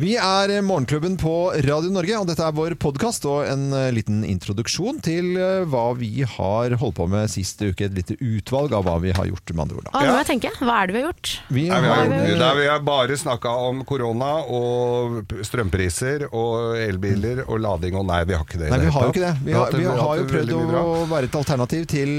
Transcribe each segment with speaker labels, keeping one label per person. Speaker 1: Vi er Morgenklubben på Radio Norge, og dette er vår podkast og en eh, liten introduksjon til eh, hva vi har holdt på med sist uke. Et lite utvalg av hva vi har gjort, med andre ord. da.
Speaker 2: Å, nå
Speaker 3: Ja.
Speaker 2: må jeg tenke. Hva er det vi har gjort?
Speaker 1: Vi
Speaker 3: Nei, vi, har,
Speaker 1: har,
Speaker 2: vi
Speaker 3: nei, vi har bare snakka om korona og p- strømpriser og elbiler og lading og nei, vi har ikke det. i
Speaker 1: Nei, vi
Speaker 3: hele
Speaker 1: har jo
Speaker 3: tatt.
Speaker 1: ikke det. Vi har,
Speaker 3: hatt
Speaker 1: vi
Speaker 3: det-
Speaker 1: har
Speaker 3: hatt
Speaker 1: jo
Speaker 3: det
Speaker 1: prøvd
Speaker 3: veldig mye
Speaker 1: å
Speaker 3: bra.
Speaker 1: være et alternativ til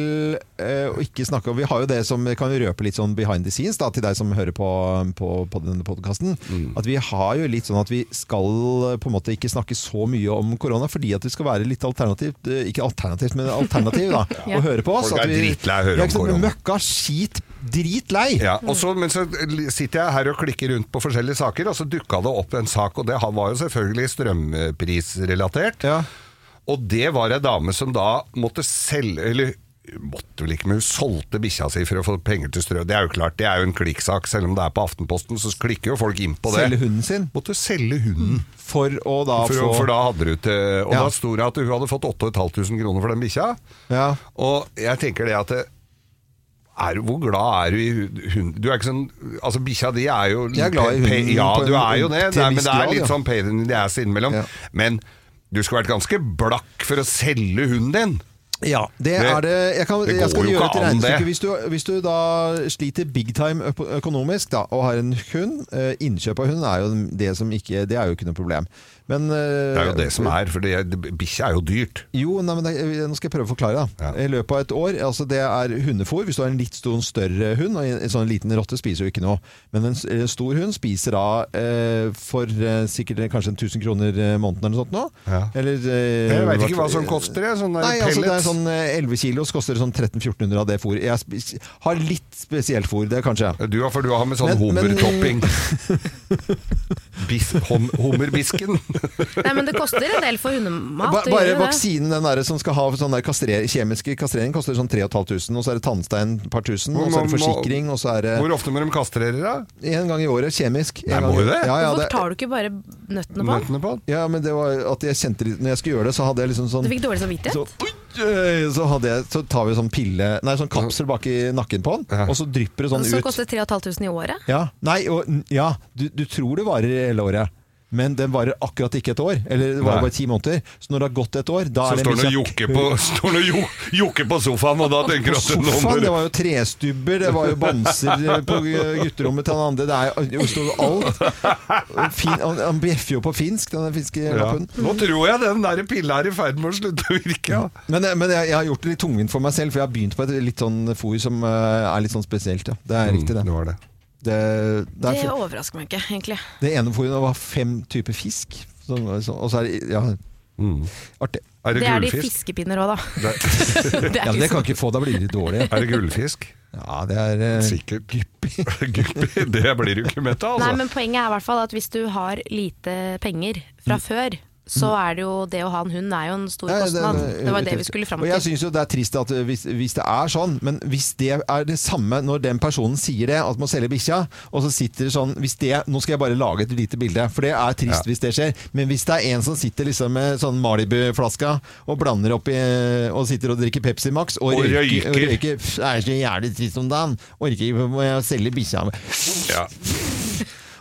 Speaker 1: eh, å ikke snakke om Vi har jo det som kan røpe litt sånn behind the scenes da, til deg som hører på, på, på denne podkasten.
Speaker 3: Mm.
Speaker 1: At vi har jo litt sånn at vi skal eh, på en måte ikke snakke så mye om korona fordi at det skal være litt alternativt eh, Ikke alternativt, men alternativ, da.
Speaker 2: Ja.
Speaker 1: Å høre på oss.
Speaker 3: Folk er
Speaker 1: at vi-
Speaker 3: dritlei av å høre
Speaker 1: Ja,
Speaker 3: om
Speaker 1: ikke sant,
Speaker 3: korona.
Speaker 1: Møkka, skit, dritlei!
Speaker 3: Ja, og så, men så li- sitter jeg her og klikker rundt på forskjellige saker, og så dukka det opp en sak, og det ha- var jo selvfølgelig strømprisrelatert.
Speaker 1: Ja.
Speaker 3: Og det var ei dame som da måtte selge Eller måtte vel ikke, men hun solgte bikkja si for å få penger til strø. Det er jo klart, det er jo en klikksak. Selv om det er på Aftenposten, så klikker jo folk inn på det.
Speaker 1: Selge hunden sin
Speaker 3: Måtte selge hunden.
Speaker 1: for å da
Speaker 3: For,
Speaker 1: få
Speaker 3: for da hadde du til Og
Speaker 1: Ja.
Speaker 3: da sto det at hun hadde fått 8500 kroner for den bikkja.
Speaker 1: ja.
Speaker 3: Og jeg tenker det at det, er, du- Hvor glad er du i hu- hund? Du er ikke sånn Altså, bikkja di er jo
Speaker 1: Jeg er glad i
Speaker 3: pe-
Speaker 1: hunden
Speaker 3: Ja,
Speaker 1: på en-
Speaker 3: du er jo det.
Speaker 1: til
Speaker 3: Nei,
Speaker 1: en
Speaker 3: men
Speaker 1: viss
Speaker 3: det er
Speaker 1: grad,
Speaker 3: litt
Speaker 1: ja.
Speaker 3: sånn pain in the ass innimellom.
Speaker 1: Ja.
Speaker 3: Men du skulle vært ganske blakk for å selge hunden din.
Speaker 1: Ja, det,
Speaker 3: Det-
Speaker 1: er det. Jeg, kan,
Speaker 3: det
Speaker 1: jeg
Speaker 3: går
Speaker 1: skal
Speaker 3: jo
Speaker 1: gjøre
Speaker 3: ikke
Speaker 1: et
Speaker 3: an,
Speaker 1: regnestykke.
Speaker 3: det.
Speaker 1: Hvis du, hvis du da sliter big time øko- økonomisk da, og har en hund, eh, innkjøp av hund er jo det som ikke Det er jo ikke noe problem. Men eh,
Speaker 3: Det er jo det som er, for det- det- bikkja er jo dyrt.
Speaker 1: Jo, nei, men det, eh, nå skal jeg prøve å forklare. Da.
Speaker 3: Ja.
Speaker 1: I løpet av et år altså Det er hundefôr. Hvis du har en litt stor, større hund og En en sånn liten rotte spiser jo ikke noe. Men en, s- en stor hund spiser da eh, for eh, sikkert kanskje en 1000 kroner eh, måneden eller noe sånt nå.
Speaker 3: Ja.
Speaker 1: Eller, eh,
Speaker 3: Jeg veit ikke
Speaker 1: hvert-
Speaker 3: hva som koster, jeg. Sånn der
Speaker 1: Nei, altså det er
Speaker 3: pellets.
Speaker 1: sånn eh, 11 kilos koster det sånn 1300-1400 av det fôret. Jeg spis- har litt spesielt fôr, det kanskje.
Speaker 3: Du har, for du har med sånn
Speaker 1: Men- men-
Speaker 3: hummertopping. Bis, hom, hummerbisken.
Speaker 2: Nei, men det koster en del for hundemat.
Speaker 1: Ba
Speaker 2: det
Speaker 1: bare
Speaker 2: gjør jo det.
Speaker 1: vaksinen den der, som skal ha sånn der kastre- kjemiske kastrering, koster sånn 3500, og så er det tannstein et par tusen,
Speaker 3: Hvor
Speaker 1: og så er det
Speaker 3: må-
Speaker 1: forsikring, og så er det
Speaker 3: Hvor ofte må de kastrere deg?
Speaker 1: En gang i året, kjemisk. En
Speaker 3: Nei,
Speaker 1: gang
Speaker 3: må
Speaker 1: i-
Speaker 3: du det?
Speaker 1: Ja, ja,
Speaker 2: Hvorfor
Speaker 1: det
Speaker 2: tar du ikke bare nøttene på den?
Speaker 3: Nøttene på den?
Speaker 1: ja, men det var at jeg kjente litt Når jeg skulle gjøre det, så hadde jeg liksom sånn
Speaker 2: Du fikk dårlig samvittighet?
Speaker 1: så, Oi, så, hadde jeg, så tar vi sånn pille Nei, sånn kapsel bak i nakken på den,
Speaker 3: Ja.
Speaker 1: og så drypper det sånn
Speaker 2: Som
Speaker 1: ut.
Speaker 2: koster 3500 i året?
Speaker 1: Ja, nei, og, ja du, du tror det varer hele året. Men den varer akkurat ikke et år. Eller det varer
Speaker 3: Nei.
Speaker 1: bare ti måneder. Så når det har gått et år, da
Speaker 3: Så
Speaker 1: er det
Speaker 3: står han og
Speaker 1: bikkja
Speaker 3: jokker på, står han og jo, jokker på sofaen, og da tenker du at nå må
Speaker 1: Sofaen,
Speaker 3: du
Speaker 1: det var jo trestubber, det var jo bamser eh, på gutterommet til den andre. Det er jo står jo alt. Fin, han, han bjeffer jo på finsk, denne finske
Speaker 3: ja.
Speaker 1: lappen.
Speaker 3: Nå tror jeg den der pilla er i ferd med å slutte å virke. Ja.
Speaker 1: Men, eh, men jeg, jeg har gjort det litt tungvint for meg selv, for jeg har begynt på et litt sånn fôr som eh, er litt sånn spesielt. Ja. Det er riktig, det.
Speaker 3: Mm, Det var det.
Speaker 1: Det, det,
Speaker 2: Det
Speaker 1: er,
Speaker 2: overrasker meg ikke, egentlig.
Speaker 1: det ene fôret var fem typer fisk. Sånn, sånn, og så er det ja,
Speaker 3: Mm.
Speaker 1: artig.
Speaker 3: Er det,
Speaker 2: Det er de
Speaker 3: gullfisk?
Speaker 2: fiskepinner òg, da.
Speaker 3: Det-
Speaker 2: Det
Speaker 1: Ja,
Speaker 2: er
Speaker 1: men det
Speaker 2: liksom
Speaker 1: kan ikke få, da blir det dårlig.
Speaker 3: Er det gullfisk?
Speaker 1: Ja, det er eh,
Speaker 3: Sikkert. Guppi. Det blir du ikke mett av,
Speaker 2: Nei,
Speaker 3: altså.
Speaker 2: men Poenget er i hvert fall at hvis du har lite penger fra før, så er det jo det å ha en hund er jo en stor
Speaker 1: Mm. Nei,
Speaker 2: kostnad.
Speaker 1: det-
Speaker 2: Det var det vi skulle fram
Speaker 1: Og jeg
Speaker 2: til.
Speaker 1: syns jo det er trist at eh, hvis, hvis det er sånn, men hvis det er det samme når den personen sier det, at man selger bikkja, og så sitter det sånn hvis det, Nå skal jeg bare lage et lite bilde, for det er trist
Speaker 3: Ja.
Speaker 1: hvis det skjer. Men hvis det er en som sitter liksom med sånn Malibu-flaska og blander oppi og sitter og drikker Pepsi Max og,
Speaker 3: Og
Speaker 1: røyker, og
Speaker 3: røyker.
Speaker 1: røyker pff, Det er så jævlig trist om dagen. Orker ikke, må jeg selge bikkja.
Speaker 3: Ja.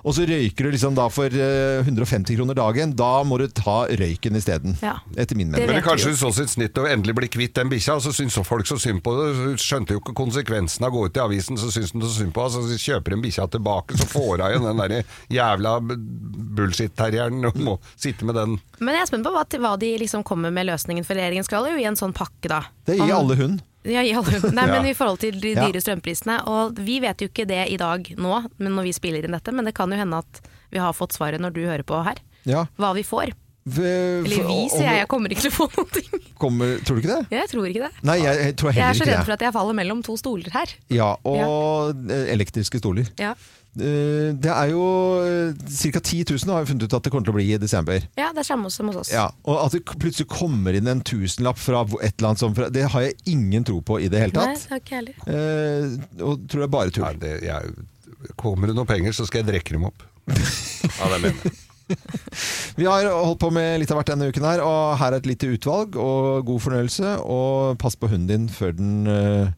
Speaker 1: Og så røyker du liksom da for eh, 150 kroner dagen. Da må du ta røyken isteden.
Speaker 2: Ja.
Speaker 1: Etter min mening.
Speaker 2: Det
Speaker 3: Men
Speaker 2: vet vi
Speaker 3: kanskje
Speaker 2: jo.
Speaker 3: hun så sitt snitt og endelig ble kvitt den bikkja, og så syns folk så synd på det. Hun skjønte jo ikke konsekvensen av å gå ut i avisen, så syns hun så synd på henne, så kjøper hun bikkja tilbake, så får hun igjen den der jævla bullshit-terrieren og må sitte med den.
Speaker 2: Men jeg er spent på hva, hva de liksom kommer med løsningen for regjeringen skal jo i en sånn pakke, da.
Speaker 1: Det gir
Speaker 2: Om-
Speaker 1: alle hund.
Speaker 2: Ja, i alle Nei,
Speaker 3: Ja.
Speaker 2: men i forhold til de
Speaker 1: Ja.
Speaker 2: dyre strømprisene. Og vi vet jo ikke det i dag nå, men når vi spiller inn dette. Men det kan jo hende at vi har fått svaret når du hører på her.
Speaker 1: Ja.
Speaker 2: Hva vi får. Eller vi,
Speaker 1: Eller
Speaker 2: sier jeg. Jeg kommer ikke til å få noen ting.
Speaker 1: Kommer, tror du ikke det?
Speaker 2: Jeg tror ikke det.
Speaker 1: Nei, jeg, jeg tror
Speaker 2: Jeg
Speaker 1: heller
Speaker 2: er så
Speaker 1: ikke
Speaker 2: redd
Speaker 1: det.
Speaker 2: for at jeg faller mellom to stoler her.
Speaker 1: Ja, og eh, elektriske stoler.
Speaker 2: Ja,
Speaker 1: Eh, Det er jo eh, ca. 10 000 har vi funnet ut at det kommer til å bli i desember.
Speaker 2: ja det er samme som hos oss.
Speaker 1: Ja, og At det k- plutselig kommer inn en tusenlapp fra hvor- et eller annet sånt, fra- det har jeg ingen tro på i det hele
Speaker 2: Nei,
Speaker 1: tatt.
Speaker 2: det er ikke jeg heller.
Speaker 1: Eh, og tror det er bare
Speaker 3: Nei,
Speaker 1: tull.
Speaker 3: det, jeg, kommer det noen penger, så skal jeg drekke dem opp. Ja, det mener jeg.
Speaker 1: Vi har holdt på med litt av hvert denne uken her, og her er et lite utvalg. Og god fornøyelse, og pass på hunden din før den eh,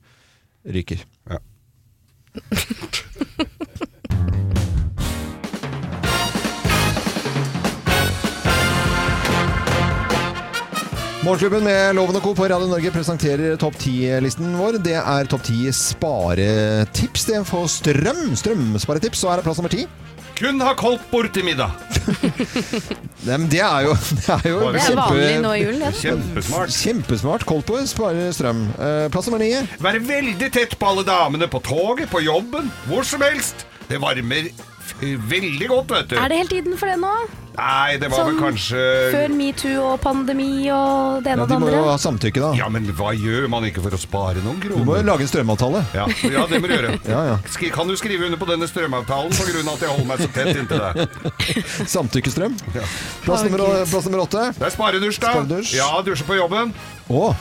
Speaker 1: ryker.
Speaker 3: Ja.
Speaker 1: Morgenklubben med Loven og Co. på Radio Norge presenterer topp 10-listen vår. Det er topp 10 sparetips. Det får strøm. Strømsparetips. Så er det plass nummer ti.
Speaker 3: Kun ha koldt bord til middag.
Speaker 1: Nei, men Det er jo, det er jo
Speaker 2: Det er vanlig nå i julen. det.
Speaker 3: Kjempesmart.
Speaker 1: Kjempesmart. Koldtbord sparer strøm. Eh, Plass nummer ni.
Speaker 3: Være veldig tett på alle damene på toget, på jobben, hvor som helst. Det varmer f- veldig godt, vet du.
Speaker 2: Er det helt innenfor det nå?
Speaker 3: Nei, det var vel
Speaker 2: Sånn
Speaker 3: kanskje
Speaker 2: Før metoo og pandemi og det
Speaker 1: Øh. Ja,
Speaker 2: ene og
Speaker 1: de
Speaker 2: det
Speaker 1: må jo
Speaker 2: andre?
Speaker 1: ha samtykke, da.
Speaker 3: Ja, men hva gjør man ikke for å spare noen
Speaker 1: Du må jo
Speaker 3: kroner?
Speaker 1: lage en strømavtale.
Speaker 3: Ja, ja, det må du gjøre.
Speaker 1: Ja, ja.
Speaker 3: Skri, kan du skrive under på denne strømavtalen på grunn av at jeg holder meg så tett inntil deg?
Speaker 1: Samtykkestrøm.
Speaker 3: Ja.
Speaker 1: Plass
Speaker 2: Å,
Speaker 1: nummer,
Speaker 2: Gud.
Speaker 1: plass nummer åtte.
Speaker 3: Det er sparedusj, da.
Speaker 1: Sparedusj.
Speaker 3: Ja, dusje på jobben.
Speaker 1: Å,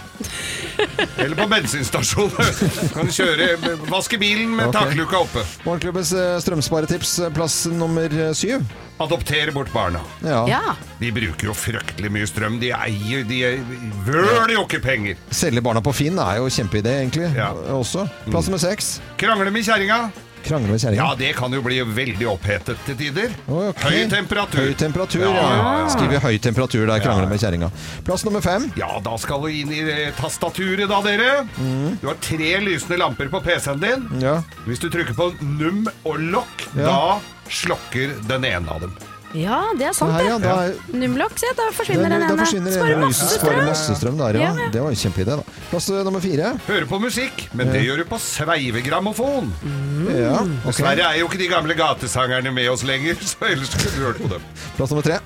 Speaker 3: Eller på bensinstasjonen. Kan kjøre, vaske bilen med
Speaker 1: Ok.
Speaker 3: takluka oppe.
Speaker 1: Morgenklubbens eh, strømsparetips. eh, Plass nummer eh, syv.
Speaker 3: Adoptere bort barna.
Speaker 1: Ja.
Speaker 2: Ja.
Speaker 3: De bruker jo fryktelig mye strøm. De eier De vøler jo ikke penger.
Speaker 1: Selge barna på Finn er jo kjempeidé, egentlig.
Speaker 3: Ja.
Speaker 1: Også. Plass nummer seks.
Speaker 3: Krangler med kjerringa.
Speaker 1: Krangle med kjerringa.
Speaker 3: Ja, det kan jo bli veldig opphetet til tider.
Speaker 1: Å, ok.
Speaker 3: Høy temperatur.
Speaker 1: Høy temperatur, ja.
Speaker 3: Ja, ja, ja.
Speaker 1: Skriver høy temperatur der, krangler
Speaker 3: Ja, ja.
Speaker 1: med kjerringa. Plass nummer fem.
Speaker 3: Ja, da skal du inn i eh, tastaturet, da, dere.
Speaker 1: Mm.
Speaker 3: Du har tre lysende lamper på PC-en din.
Speaker 1: Ja.
Speaker 3: Hvis du trykker på num og lokk,
Speaker 1: Ja.
Speaker 3: da slokker den ene av dem.
Speaker 2: ja, det er sant,
Speaker 1: Her, ja,
Speaker 2: det.
Speaker 1: da, er-
Speaker 2: Numlock, se, da
Speaker 1: da,
Speaker 2: forsvinner den
Speaker 1: da
Speaker 2: ene.
Speaker 1: forsvinner det
Speaker 2: Sparer
Speaker 1: ene
Speaker 2: masse
Speaker 1: lyset. Sparer
Speaker 2: strøm.
Speaker 1: masse strøm der, ja.
Speaker 2: Ja, ja.
Speaker 1: Det var en kjempeidé, da. Plass eh, nummer fire.
Speaker 3: Hører på musikk, men det gjør du på sveivegrammofon.
Speaker 2: Mm.
Speaker 1: Ja, ok.
Speaker 3: Dessverre er jo ikke de gamle gatesangerne med oss lenger, så ellers kunne du hørt på dem.
Speaker 1: Plass nummer tre.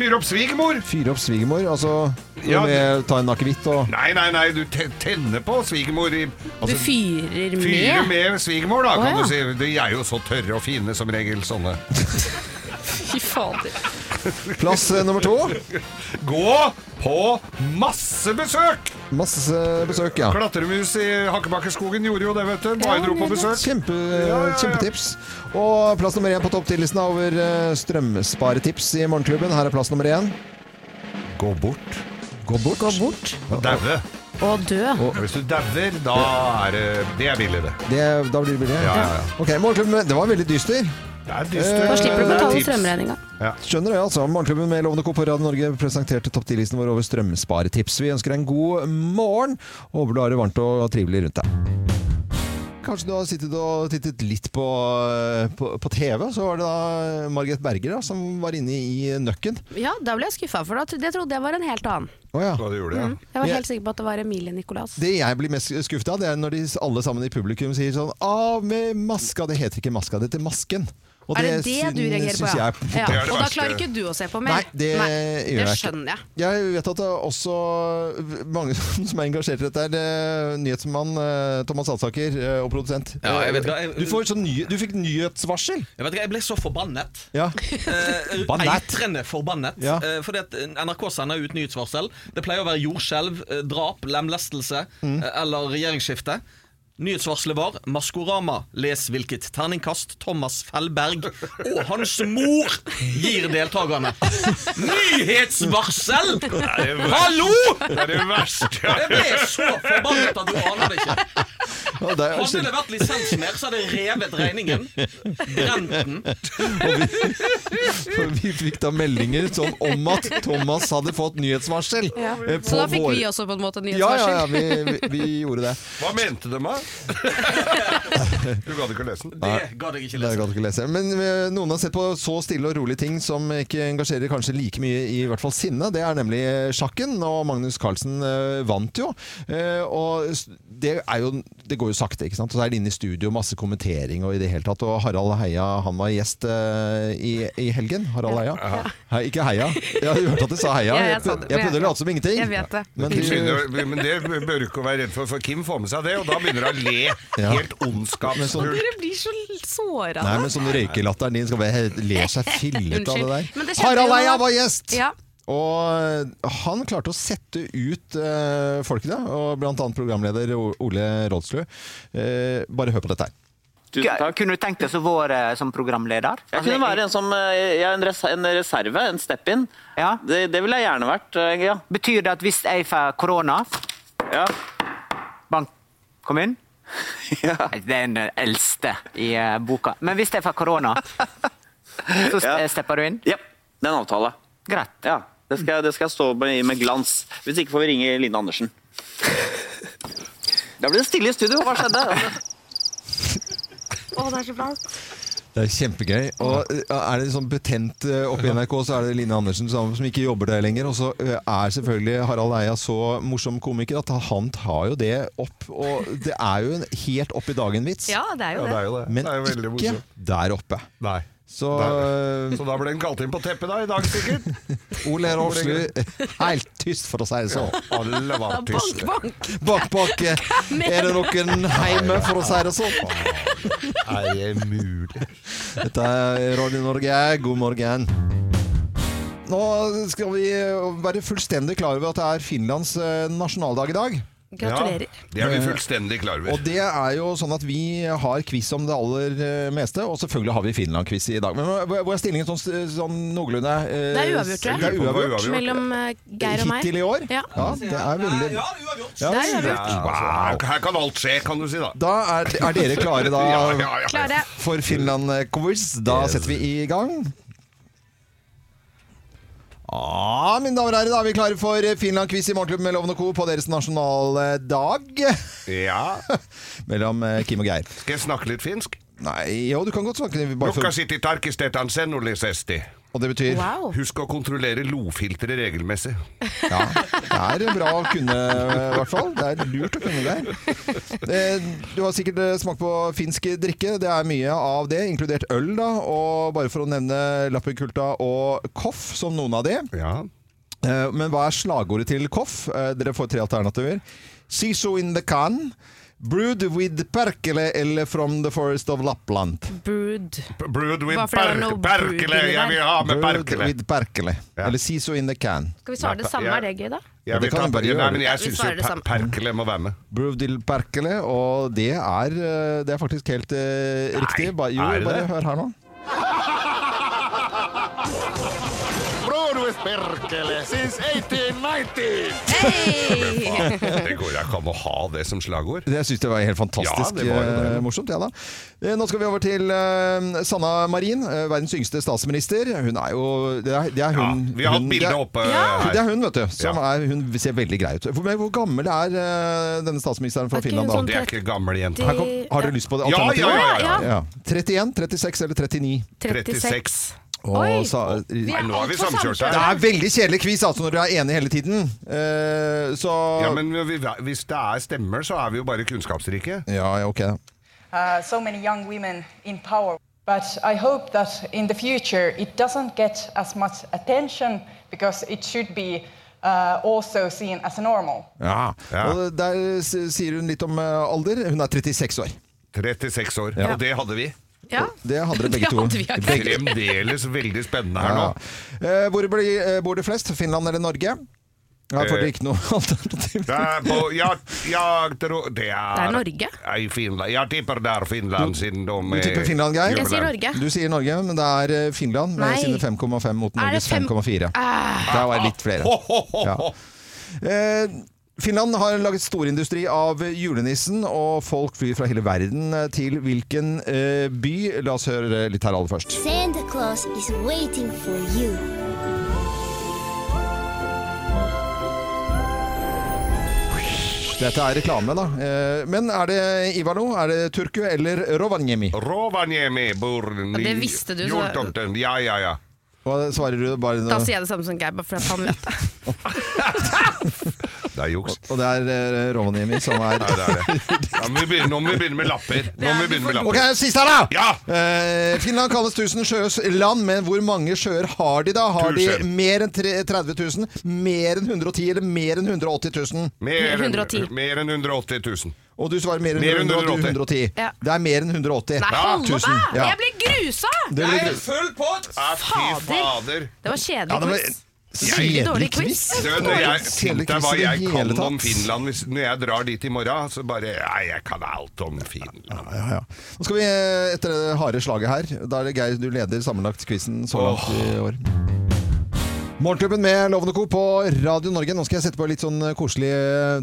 Speaker 3: Fyr opp svigermor.
Speaker 1: Fyre opp svigermor. Altså
Speaker 3: Ja,
Speaker 1: med, ta en akevitt og
Speaker 3: Nei, nei, nei, du te- tenner på svigermor. i-
Speaker 2: Du
Speaker 3: Altså,
Speaker 2: fyrer
Speaker 3: Fyre
Speaker 2: med.
Speaker 3: med svigermor, da, kan
Speaker 2: Å, ja.
Speaker 3: du si. De er jo så tørre og fine som regel, sånne.
Speaker 2: Fy fader.
Speaker 1: Plass eh, nummer to.
Speaker 3: Gå på massebesøk!
Speaker 1: Masse besøk, ja.
Speaker 3: Klatremus i Hakkebakkeskogen gjorde jo det, vet du. Bare
Speaker 2: Ja,
Speaker 3: dro på
Speaker 2: nydelig.
Speaker 3: besøk.
Speaker 1: Kjempe,
Speaker 3: ja, ja.
Speaker 1: Kjempetips. Og plass nummer én på topp 10-listen over eh, strømsparetips i Morgenklubben. Her er plass nummer én.
Speaker 3: Gå bort.
Speaker 1: Gå bort.
Speaker 2: Gå bort
Speaker 3: Og daue.
Speaker 2: og dø.
Speaker 3: Hvis du dauer, da er det Det er billig, det.
Speaker 1: Det, da blir det billig.
Speaker 3: Ja, ja, ja.
Speaker 1: Ok, Morgenklubben, det var veldig dyster.
Speaker 3: Det er dystert.
Speaker 2: Da slipper du å
Speaker 3: eh, Det er
Speaker 2: betale
Speaker 3: tips.
Speaker 2: strømregninga.
Speaker 1: Skjønner det, altså. Morgenklubben med Lovende Co. på Radio Norge presenterte topp 10-listen vår over strømsparetips. Vi ønsker deg en god morgen, og håper du har det varmt og trivelig rundt deg. Kanskje du har sittet og tittet litt på, eh, på, på TV, så var det da Margret Berger da, som var inne i nøkken.
Speaker 2: Ja, da ble jeg skuffa, for det- det trodde jeg var en helt annen.
Speaker 1: Å ja.
Speaker 3: Hva du gjorde, ja.
Speaker 2: Jeg var
Speaker 1: Ja.
Speaker 2: helt sikker på at det var Emilie Nicolas.
Speaker 1: Det jeg blir mest skuffet av, det er når de alle sammen i publikum sier sånn Av med maska! Det heter ikke maska, det heter masken. Og
Speaker 2: er det det
Speaker 1: syn-
Speaker 2: du reagerer på,
Speaker 1: syns
Speaker 2: ja?
Speaker 1: jeg-
Speaker 2: ja.
Speaker 3: Det er det
Speaker 2: Og da
Speaker 3: verste.
Speaker 2: klarer ikke du å se på mer?
Speaker 1: Nei, det gjør
Speaker 2: det
Speaker 1: jeg ikke.
Speaker 2: skjønner jeg.
Speaker 1: Jeg vet at det er også mange som er engasjert i dette. her. Det er Nyhetsmann eh, Thomas Alsaker eh, og produsent.
Speaker 4: Ja, jeg vet ikke hva- jeg-
Speaker 1: Du, får sånn ny, du fikk nyhetsvarsel!
Speaker 4: Jeg vet ikke, jeg ble så forbannet.
Speaker 1: Ja.
Speaker 4: Eh,
Speaker 1: Bannet.
Speaker 4: Eitrende forbannet.
Speaker 1: Ja.
Speaker 4: Eh, fordi at NRK sender ut nyhetsvarsel. Det pleier å være jordskjelv, eh, drap, lemlestelse
Speaker 1: Mm.
Speaker 4: eh, eller regjeringsskifte. Nyhetsvarselet var 'Maskorama. Les hvilket terningkast Thomas Fellberg og hans mor gir deltakerne'. Nyhetsvarsel! Hallo!
Speaker 3: Det er det verste jeg
Speaker 4: Jeg ble så forbannet at du aner det ikke.
Speaker 1: Og det er,
Speaker 4: Hadde det vært lisens mer, så hadde jeg revet regningen. Brent den.
Speaker 1: for vi fikk da meldinger sånn om at Thomas hadde fått nyhetsvarsel.
Speaker 2: Ja.
Speaker 1: eh, på
Speaker 2: Så da fikk
Speaker 1: vår-
Speaker 2: vi også på en måte
Speaker 1: ja, ja,
Speaker 2: nyhetsvarsel.
Speaker 1: ja, vi, vi, vi gjorde det.
Speaker 3: Hva mente de, da? Du gadd ikke å lese den?
Speaker 4: Det gadd jeg ikke
Speaker 1: Det er
Speaker 4: lese.
Speaker 1: godt ikke å lese. Men eh, noen har sett på så stille og rolige ting som ikke engasjerer kanskje like mye i hvert fall sinne. Det er nemlig eh, sjakken, og Magnus Carlsen eh, vant jo. Eh, Og s- det, er jo, det går jo sakte, ikke sant. Og så er det inne i studio, masse kommentering og i det hele tatt. Og Harald Heia, han var gjest eh, i, i helgen. Harald Heia. Hei, ikke Heia. Jeg har hørt at du sa Heia.
Speaker 2: Ja, jeg
Speaker 1: Jeg,
Speaker 2: sa
Speaker 1: prøv-
Speaker 2: det,
Speaker 1: jeg
Speaker 2: men
Speaker 1: prøvde
Speaker 2: jeg-
Speaker 1: å late som ingenting.
Speaker 2: Jeg vet det.
Speaker 1: Men
Speaker 3: Hun
Speaker 1: du,
Speaker 3: begynner- Men det bør du ikke være redd for, for Kim får med seg det, og da begynner hun å le.
Speaker 1: Ja.
Speaker 3: Helt ondskapsfullt.
Speaker 2: Dere blir så såra.
Speaker 1: nei, men sånn røykelatteren din skal bare he- ler seg fillet av det der.
Speaker 2: Unnskyld, men det skjedde
Speaker 1: Harald
Speaker 2: jo
Speaker 1: Heia
Speaker 2: nå.
Speaker 1: var gjest!
Speaker 2: Ja.
Speaker 1: Og han klarte å sette ut eh, folkene, og blant annet programleder O- Ole Rådslø. Eh, bare hør på dette her.
Speaker 5: Tusen takk.
Speaker 6: Kunne du tenkt deg å være eh, som programleder? Altså,
Speaker 5: Jeg kunne være en som eh, Jeg er en, res en reserve, en step-in.
Speaker 6: Ja.
Speaker 5: Det, det ville jeg gjerne vært. eh, Ja.
Speaker 6: Betyr det at hvis jeg får korona
Speaker 5: ja.
Speaker 6: Bank, kom inn.
Speaker 5: ja.
Speaker 6: Det er den eldste i eh, boka. Men hvis jeg får korona, så st
Speaker 5: Ja.
Speaker 6: stepper du inn?
Speaker 5: Jep. Det er en avtale.
Speaker 6: Greit.
Speaker 5: Ja. Det skal, det skal jeg stå med, med glans. Hvis ikke får vi ringe Line Andersen. Da ble det stille i studio. Hva skjedde?
Speaker 2: det er så flaut.
Speaker 1: Det er kjempegøy. Og eh, er det sånn betent eh, oppe i NRK, så er det Line Andersen som, som ikke jobber der lenger. Og så eh, er selvfølgelig Harald Eia så morsom komiker at han tar jo det opp. Og det er jo en helt opp i dagen-vits,
Speaker 2: Ja, det er jo
Speaker 3: Ja, det
Speaker 2: det.
Speaker 3: er jo det.
Speaker 1: men
Speaker 3: det er jo veldig
Speaker 1: ikke
Speaker 3: morsomt.
Speaker 1: der oppe.
Speaker 3: Nei.
Speaker 1: Så eh,
Speaker 3: Der. Så da ble den kalt inn på teppet da, i dag, sikkert.
Speaker 1: Ole Roslu, helt tyst, for å si det sånn.
Speaker 3: Alle var
Speaker 2: Bank,
Speaker 3: tyste.
Speaker 2: bank!
Speaker 1: Bak, bak, eh, er det noen heime, for å si det sånn?
Speaker 3: Er det mulig?
Speaker 1: Dette er Radio Norge. God morgen. Nå skal vi eh, være fullstendig klar over at det er Finlands eh, nasjonaldag i dag.
Speaker 2: Gratulerer.
Speaker 3: Ja, det er vi fullstendig klar
Speaker 1: Og
Speaker 3: over.
Speaker 1: det er jo sånn at vi har quiz om det aller eh, meste, og selvfølgelig har vi Finland-quiz i dag. Men hvor hvor er stillingen sånn, sånn noenlunde? eh,
Speaker 2: Det er uavgjort, tror jeg.
Speaker 1: Det er uavgjort.
Speaker 3: uavgjort.
Speaker 2: Mellom eh, Geir og meg.
Speaker 1: Hittil i år?
Speaker 2: Ja.
Speaker 1: det er veldig
Speaker 4: Ja, uavgjort.
Speaker 1: Ja,
Speaker 2: Det er uavgjort.
Speaker 3: Wow. altså, Her kan alt skje, kan du si da.
Speaker 1: Da er, er dere klare da
Speaker 3: Ja, ja, ja.
Speaker 2: Klare.
Speaker 1: for Finland-quiz? Da setter vi i gang. Ja, Ah, mine damer og herrer, da er vi klare for eh, Finland-quiz i Morgenklubben med Loven og Co. på deres nasjonaldag.
Speaker 3: ja.
Speaker 1: Mellom eh, Kim og Geir.
Speaker 3: Skal jeg snakke litt finsk?
Speaker 1: Nei, jo, du kan godt snakke bare for,
Speaker 3: Lukkasit i tarkistetan sennulisesti.
Speaker 1: Og det betyr
Speaker 2: Wow.
Speaker 3: Husk å kontrollere lofilteret regelmessig.
Speaker 1: Ja, det er bra å kunne, eh, i hvert fall. Det er lurt å kunne det. Eh, Du har sikkert eh, smakt på finsk drikke. Det er mye av det, inkludert øl, da. Og bare for å nevne Lappekulta og Koff som noen av de.
Speaker 3: Ja.
Speaker 1: Eh, Men hva er slagordet til Koff? Eh, Dere får tre alternativer. Siso in the can. Brewed with perkele eller from the forest of Lapland.
Speaker 2: Brood.
Speaker 3: Brewed with
Speaker 2: Bare fordi det var
Speaker 3: perk-
Speaker 2: noe brewed
Speaker 3: perkele!
Speaker 2: inni
Speaker 3: Jeg vil ha med
Speaker 1: Brewed
Speaker 3: perkele!
Speaker 1: with perkele.
Speaker 3: Ja.
Speaker 1: Eller siso in the can.
Speaker 2: Skal vi svare det samme, er det gøy, da?
Speaker 1: Ja,
Speaker 3: Jeg
Speaker 1: det
Speaker 3: vil
Speaker 1: kan
Speaker 3: ta,
Speaker 1: vi bare gjøre.
Speaker 3: nei, men jeg
Speaker 2: Vi
Speaker 3: syns
Speaker 2: svarer det
Speaker 3: jo
Speaker 2: samme.
Speaker 3: perkele må være med.
Speaker 1: Bruvdil Perkele, og det er, eh, det er faktisk helt eh, riktig. Ba, jo,
Speaker 3: er det
Speaker 1: bare
Speaker 3: det?
Speaker 1: hør her nå.
Speaker 2: Hei!
Speaker 3: Det går ikke an å ha det som slagord.
Speaker 1: Det, jeg syns det var helt fantastisk
Speaker 3: Ja, det var jo det.
Speaker 1: eh, morsomt. Ja, da. Eh, Nå skal vi over til eh, Sanna Marin, eh, verdens yngste statsminister. Hun er jo Det er, det er
Speaker 3: Ja,
Speaker 1: hun.
Speaker 3: vi har hatt
Speaker 1: hun- det
Speaker 3: bildet
Speaker 1: er-
Speaker 3: oppe
Speaker 1: Det er
Speaker 3: her.
Speaker 1: hun, vet du. Som er, hun ser veldig grei ut. Hvor, men hvor gammel er eh, denne statsministeren fra
Speaker 2: Er ikke
Speaker 1: Finland,
Speaker 2: hun
Speaker 1: da?
Speaker 2: sånn-
Speaker 3: Det er ikke gamle jenter.
Speaker 1: Her kom, har dere lyst på det?
Speaker 3: Ja, ja,
Speaker 1: alternativet?
Speaker 3: ja! ja.
Speaker 2: Ja.
Speaker 1: Ja. 31, 36 eller 39?
Speaker 2: 36.
Speaker 3: 36.
Speaker 1: Og
Speaker 2: Oi.
Speaker 1: sa-
Speaker 2: Vi
Speaker 3: Nei,
Speaker 2: er
Speaker 3: nå er vi
Speaker 2: altfor
Speaker 3: samkjørt her.
Speaker 1: Det
Speaker 2: samkjørte.
Speaker 1: er veldig kjedelig quiz altså, når du er enig hele tiden. Eh, så
Speaker 3: Ja, men vi, hvis det er stemmer, så er vi jo bare kunnskapsrike.
Speaker 1: Ja, ja, ok.
Speaker 7: uh, so many young women in power. But I hope that in the future it doesn't get as much attention because it should be uh, also seen as normal.
Speaker 1: Ja.
Speaker 3: Ja.
Speaker 1: Og der s- sier hun litt om eh, alder. Hun er 36 år.
Speaker 3: 36 år. Og det hadde vi.
Speaker 2: Ja.
Speaker 1: Det hadde dere begge
Speaker 2: Det
Speaker 1: to.
Speaker 2: hadde vi ikke.
Speaker 1: Begge.
Speaker 3: Fremdeles veldig spennende her nå.
Speaker 1: Ja. Eh, Hvor blir, eh, bor det flest? Finland eller Norge? Her
Speaker 3: Eh,
Speaker 1: får dere ikke noe alternativ.
Speaker 3: Det er, på, jeg, jeg tror det er
Speaker 2: Det er Norge.
Speaker 3: Ja, i Finland. Jeg tipper det er Finland, siden de
Speaker 1: du tipper Finland, Geir?
Speaker 2: Jeg sier Norge.
Speaker 1: Du sier Norge, men det er eh, Finland med
Speaker 2: Nei.
Speaker 1: sine 5,5 mot
Speaker 2: Er det
Speaker 1: Norges
Speaker 2: fem- Ah.
Speaker 1: 5,4. Der var det litt flere.
Speaker 3: Ho, ho, ho, ho.
Speaker 1: Eh, Finland har laget storindustri av julenissen, og folk flyr fra hele verden eh, til hvilken eh, by? La oss høre litt her aller først.
Speaker 8: Santa Claus is waiting for you.
Speaker 1: Dette er reklame, da. Eh, Men er det Ivalo, er det Turku eller Rovaniemi?
Speaker 3: Rovaniemi bor ni-
Speaker 2: det visste du, så-
Speaker 3: Jultomten. Ja, ja, ja.
Speaker 1: Hva svarer du? Bare,
Speaker 2: Da sier jeg det samme som Geir, bare for at han vet det.
Speaker 3: Det er juks.
Speaker 1: og det er eh, Rovaniemi som er
Speaker 3: Nei, det er det. Ja, men vi begynner, nå må vi begynne med lapper. Nå må vi begynne med
Speaker 1: Ok,
Speaker 3: lapper.
Speaker 1: siste her, da!
Speaker 3: Ja!
Speaker 1: Eh, Finland kalles tusen sjøs land, men hvor mange sjøer har de, da? Har de
Speaker 3: Tusen.
Speaker 1: mer enn tre- 30 000, mer enn 110 eller mer enn 180 000?
Speaker 3: Mer enn
Speaker 2: 110.
Speaker 3: mer enn 180 000.
Speaker 1: Og du svarer mer enn
Speaker 3: Mer enn
Speaker 1: 180.
Speaker 3: 180.
Speaker 2: Ja.
Speaker 1: Det er mer enn 180.
Speaker 2: Nei, hold da!
Speaker 1: tusen. Ja.
Speaker 2: Jeg blir grusa!
Speaker 1: Det
Speaker 4: Det
Speaker 1: blir,
Speaker 4: er full pott!
Speaker 3: Ja, fy
Speaker 2: Fader.
Speaker 3: fader.
Speaker 2: Det var
Speaker 1: ja, det
Speaker 2: kjedelig
Speaker 1: ble kjedelig
Speaker 2: quiz. Veldig dårlig
Speaker 1: quiz.
Speaker 2: quiz.
Speaker 3: Du, når jeg, tenk deg hva
Speaker 1: quiz i det
Speaker 3: jeg kan
Speaker 1: hele tatt.
Speaker 3: om Finland hvis, når jeg drar dit i morgen. Så bare Nei, jeg kan alt om Finland.
Speaker 1: Ja, ja. Nå skal vi eh, etter det harde slaget her. Da er det Geir, du leder sammenlagt quizen så langt i år. Morgenklubben med Lovende Co. på Radio Norge. Nå skal jeg sette på litt sånn koselig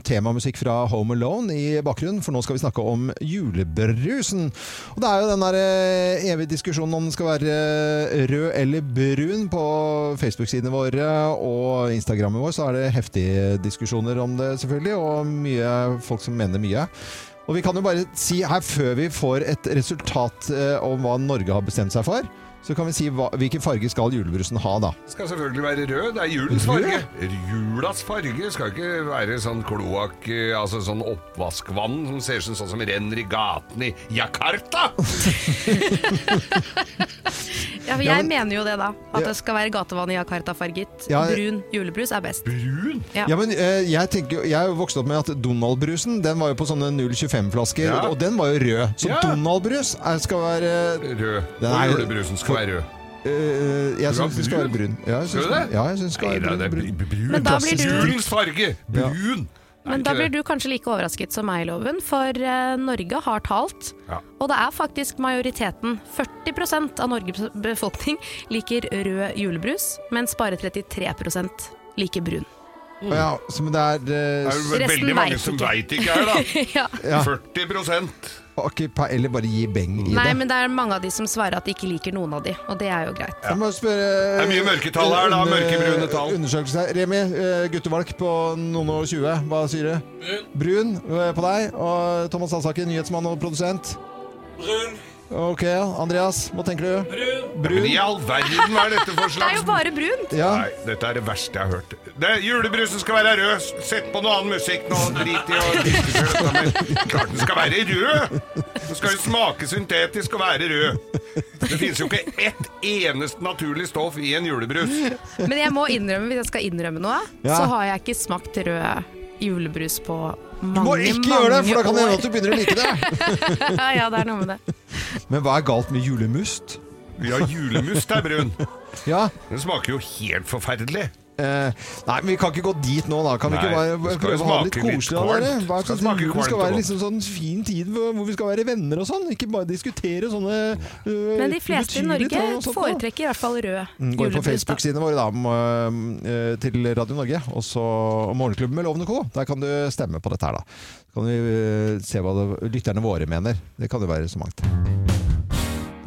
Speaker 1: temamusikk fra Home Alone i bakgrunnen, for nå skal vi snakke om julebrusen. Og det er jo den der eh, evige diskusjonen om den skal være eh, rød eller brun på Facebook-sidene våre og Instagrammen vår, så er det heftige diskusjoner om det selvfølgelig, og mye folk som mener mye. Og vi kan jo bare si her før vi får et resultat eh, om hva Norge har bestemt seg for, så kan vi si hva, hvilken farge skal julebrusen ha da.
Speaker 3: Det skal selvfølgelig være rød. Det er julens farge. Julas farge skal ikke være sånn kloakk, eh, altså sånn oppvaskvann som ser ut som sånn som renner i gatene i Jakarta.
Speaker 2: Ja, for jeg
Speaker 1: Ja, men-
Speaker 2: mener jo det, da. At
Speaker 1: Ja.
Speaker 2: det skal være gatevann i Jakarta-farget.
Speaker 1: Ja,
Speaker 2: Brun julebrus er best.
Speaker 3: Brun?
Speaker 2: Ja.
Speaker 1: Ja, men eh, jeg, tenker, jo- jeg er jo vokst opp med at Donald-brusen Den var jo på sånne 0,25-flasker,
Speaker 3: Ja.
Speaker 1: og, og den var jo rød. Så
Speaker 3: Ja.
Speaker 1: Donald-brus er- skal være
Speaker 3: Rød.
Speaker 1: Den
Speaker 3: Og
Speaker 1: er-
Speaker 3: julebrusen skal være rød.
Speaker 1: eh, Jeg
Speaker 3: Du
Speaker 1: syns
Speaker 3: er
Speaker 1: den skal være
Speaker 3: brun?
Speaker 1: brun. Ja, jeg
Speaker 3: Skal
Speaker 1: syns
Speaker 3: du det?
Speaker 1: den- Ja, jeg syns den skal
Speaker 3: Nei,
Speaker 1: være
Speaker 3: det er
Speaker 1: brun.
Speaker 3: br-
Speaker 1: brun.
Speaker 3: br- brun.
Speaker 2: Men da blir du-
Speaker 3: Julens farge.
Speaker 1: Ja.
Speaker 3: Brun. Er
Speaker 2: Men
Speaker 3: det
Speaker 2: da
Speaker 3: ikke
Speaker 2: blir
Speaker 3: det?
Speaker 2: du kanskje like overrasket som meg, Loven, for eh, Norge har talt.
Speaker 3: Ja.
Speaker 2: Og det er faktisk majoriteten, 40 av Norges befolkning, liker rød julebrus, mens bare 33 liker brun.
Speaker 1: Ja, så, men det er
Speaker 3: Det
Speaker 1: eh,
Speaker 3: er jo
Speaker 2: Resten
Speaker 3: veldig mange
Speaker 2: vet
Speaker 3: som
Speaker 2: ikke.
Speaker 3: veit ikke her, da.
Speaker 2: ja.
Speaker 1: Ja.
Speaker 3: 40
Speaker 1: ikke pe- Eller bare gi beng i
Speaker 2: Nei,
Speaker 1: det.
Speaker 2: men det er mange av de som svarer at de ikke liker noen av de, og det er jo greit.
Speaker 1: Jeg må spørre eh,
Speaker 3: Det er mye mørketall her, da. Mørkebrune tall.
Speaker 1: Undersøkelse her. Remi, eh, guttevalg på noen og tjue. Hva sier du? Brun. Brun eh, på deg. Og Thomas Hansaken, nyhetsmann og produsent. Brun. Ok, Andreas, hva tenker du? Brun.
Speaker 3: Men i all verden, hva er dette for
Speaker 2: Det er jo
Speaker 3: slags
Speaker 2: bare brunt!
Speaker 1: Ja.
Speaker 3: Nei, dette er det verste jeg har hørt. Det, julebrusen skal være rød. Sett på noe annen musikk nå. Drit i å diskutere dette, men Klart den skal være rød! Den skal jo smake syntetisk og være rød. Det finnes jo ikke ett eneste naturlig stoff i en julebrus.
Speaker 2: Men jeg må innrømme, hvis jeg skal innrømme noe,
Speaker 1: Ja.
Speaker 2: så har jeg ikke smakt rød julebrus på mange,
Speaker 1: Du må ikke gjøre det, for da kan det hende at
Speaker 2: år.
Speaker 1: du begynner å like det.
Speaker 2: Ja, ja, det er noe med det.
Speaker 1: Men hva er galt med julemust?
Speaker 3: Ja, julemust er brun.
Speaker 1: Ja.
Speaker 3: Den smaker jo helt forferdelig.
Speaker 1: Eh, nei, men vi kan ikke gå dit nå, da. Kan vi
Speaker 3: Nei,
Speaker 1: ikke
Speaker 3: det
Speaker 1: bare
Speaker 3: skal
Speaker 1: prøve
Speaker 3: jo
Speaker 1: å ha det litt
Speaker 3: smake litt
Speaker 1: koselig av dere?
Speaker 3: kvalmt.
Speaker 1: Hva
Speaker 3: Skal
Speaker 1: skal
Speaker 3: smake
Speaker 1: julen
Speaker 3: kvalmt
Speaker 1: skal
Speaker 3: og
Speaker 1: være
Speaker 3: godt.
Speaker 1: liksom sånn fin tid hvor hvor vi skal være venner og sånn? Ikke bare diskutere sånne øh,
Speaker 2: Men de fleste i
Speaker 1: ubetydelige
Speaker 2: Norge
Speaker 1: ting og sånt, da. Mm,
Speaker 2: foretrekker i hvert fall
Speaker 1: Gå
Speaker 2: rød
Speaker 1: inn på
Speaker 2: julebrus. da.
Speaker 1: Facebook-sidene våre da, om, øh, øh, til Radio Norge, og så og Morgenklubben med Lovende Co. Der kan du stemme på dette her, da. Så kan vi øh, se hva det, lytterne våre mener. Det kan jo være så mangt.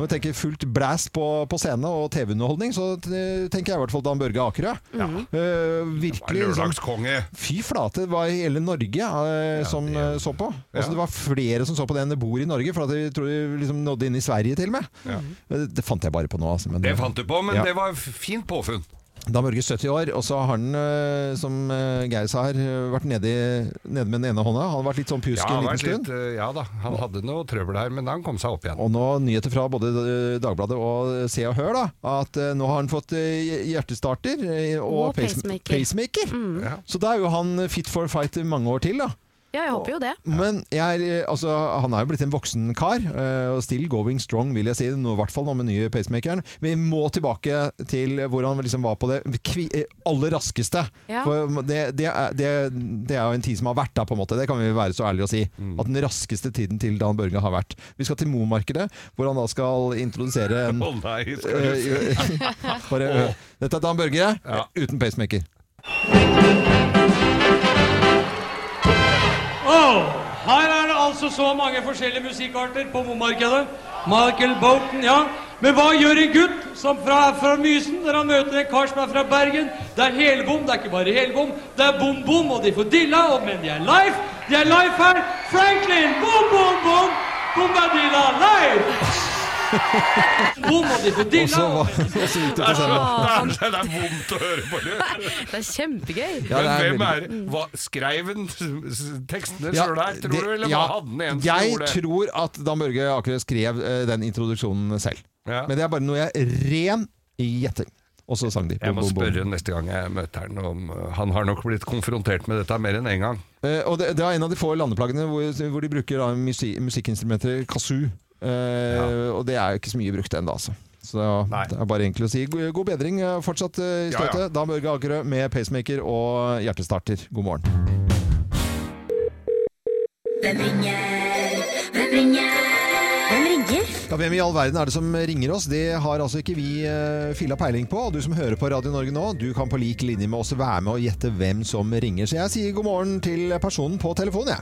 Speaker 1: Når jeg tenker fullt blæst på, på scene og TV-underholdning, så øh, tenker jeg i hvert fall Dan Børge Akerø. Øh,
Speaker 3: Det er
Speaker 1: virkelig liksom,
Speaker 3: Lørdagskonge.
Speaker 1: Fy flate, det var hele Norge eh, som eh, så på. Altså,
Speaker 3: Ja.
Speaker 1: Det var flere som så på det enn det bor i Norge, for at jeg tror de liksom nådde inn i Sverige til og med. Eh, Det fant jeg bare på nå. Altså, men,
Speaker 3: Det fant du på, men
Speaker 1: Ja.
Speaker 3: det var f- fint påfunn.
Speaker 1: Da Mørge 70 år, og så har han, eh, som eh, Geir sa her, eh, vært nede, i- nede med den ene hånda. Han har vært litt sånn pjusk
Speaker 3: Ja,
Speaker 1: en liten
Speaker 3: han vært
Speaker 1: stund.
Speaker 3: litt, eh, ja da, han hadde noe trøbbel her, men han kom seg opp igjen.
Speaker 1: Og nå nyheter fra både eh, Dagbladet og Se og Hør, da. At eh, nå har han fått eh, hjertestarter eh, og,
Speaker 2: Og pacemaker. Mm.
Speaker 1: pacemaker.
Speaker 3: Ja.
Speaker 1: Så da er jo han fit for fight i mange år til, da.
Speaker 2: Ja, jeg håper jo det.
Speaker 1: Men jeg, er, eh, altså, han er jo blitt en voksen kar, eh, og still going strong, vil jeg si. Nå, I hvert fall nå med nye pacemakeren. Vi må tilbake til hvor han liksom var på det kvi, eh, aller raskeste.
Speaker 2: Ja.
Speaker 1: For det, det, er, det, det er jo en tid som har vært da, på en måte. Det kan vi være så ærlige å si. At den raskeste tiden til Dan Børge har vært. Vi skal til Mo-markedet, hvor han da skal introdusere en
Speaker 3: Å nei, skal du si.
Speaker 1: Eh, Bare, eh, Dette er Dan Børge uten pacemaker.
Speaker 9: Her er det altså så mange forskjellige musikkarter på bommarkedet. Michael Bolton, ja. Men hva gjør en gutt som fra, er fra Mysen når han møter en kar som er fra Bergen? Det er helbom, det er ikke bare helbom. Det er bom-bom, og de får dilla, og, men de er live. De er live her. Franklin, bom-bom-bom, bombadilla, live! Bom, og de får
Speaker 1: Og så
Speaker 9: dilla.
Speaker 1: var-
Speaker 9: og-
Speaker 1: og så gikk det til scenen.
Speaker 3: Det er så- Det er det er vondt å høre på det.
Speaker 2: Det er
Speaker 1: Ja,
Speaker 2: kjempegøy.
Speaker 3: Men
Speaker 1: det er
Speaker 3: hvem
Speaker 1: veldig-
Speaker 3: er hva, Skrev han s- s- tekstene
Speaker 1: Ja,
Speaker 3: sjøl her, tror
Speaker 1: det-
Speaker 3: du? Eller
Speaker 1: ja,
Speaker 3: hva hadde han en som
Speaker 1: Jeg
Speaker 3: gjorde det?
Speaker 1: tror at Dan Børge Akerø skrev eh, den introduksjonen selv.
Speaker 3: Ja.
Speaker 1: Men det er bare noe jeg ren gjetting. Og så sang de.
Speaker 3: Jeg må
Speaker 1: Bom, bom, bom.
Speaker 3: spørre neste gang jeg møter han om eh, Han har nok blitt konfrontert med dette mer enn én en gang.
Speaker 1: Eh, og det, det er en av de få landeplagene hvor, hvor de bruker da, musi- musikkinstrumenter, kazoo. Eh, Og det er jo ikke så mye brukt ennå, altså. Så det er,
Speaker 3: Nei.
Speaker 1: det er bare egentlig å si god, god bedring eh, fortsatt eh, i
Speaker 3: Ja,
Speaker 1: støtet.
Speaker 3: ja.
Speaker 1: Dan Børge Akerø med pacemaker og hjertestarter. God morgen.
Speaker 8: Hvem ringer? Hvem ringer?
Speaker 10: Hvem ringer?
Speaker 1: Ja, hvem i all verden er det som ringer oss? Det har altså ikke vi uh, filla peiling på. Og du som hører på Radio Norge nå, du kan på lik linje med oss være med og gjette hvem som ringer. Så jeg sier god morgen til personen på telefonen, jeg.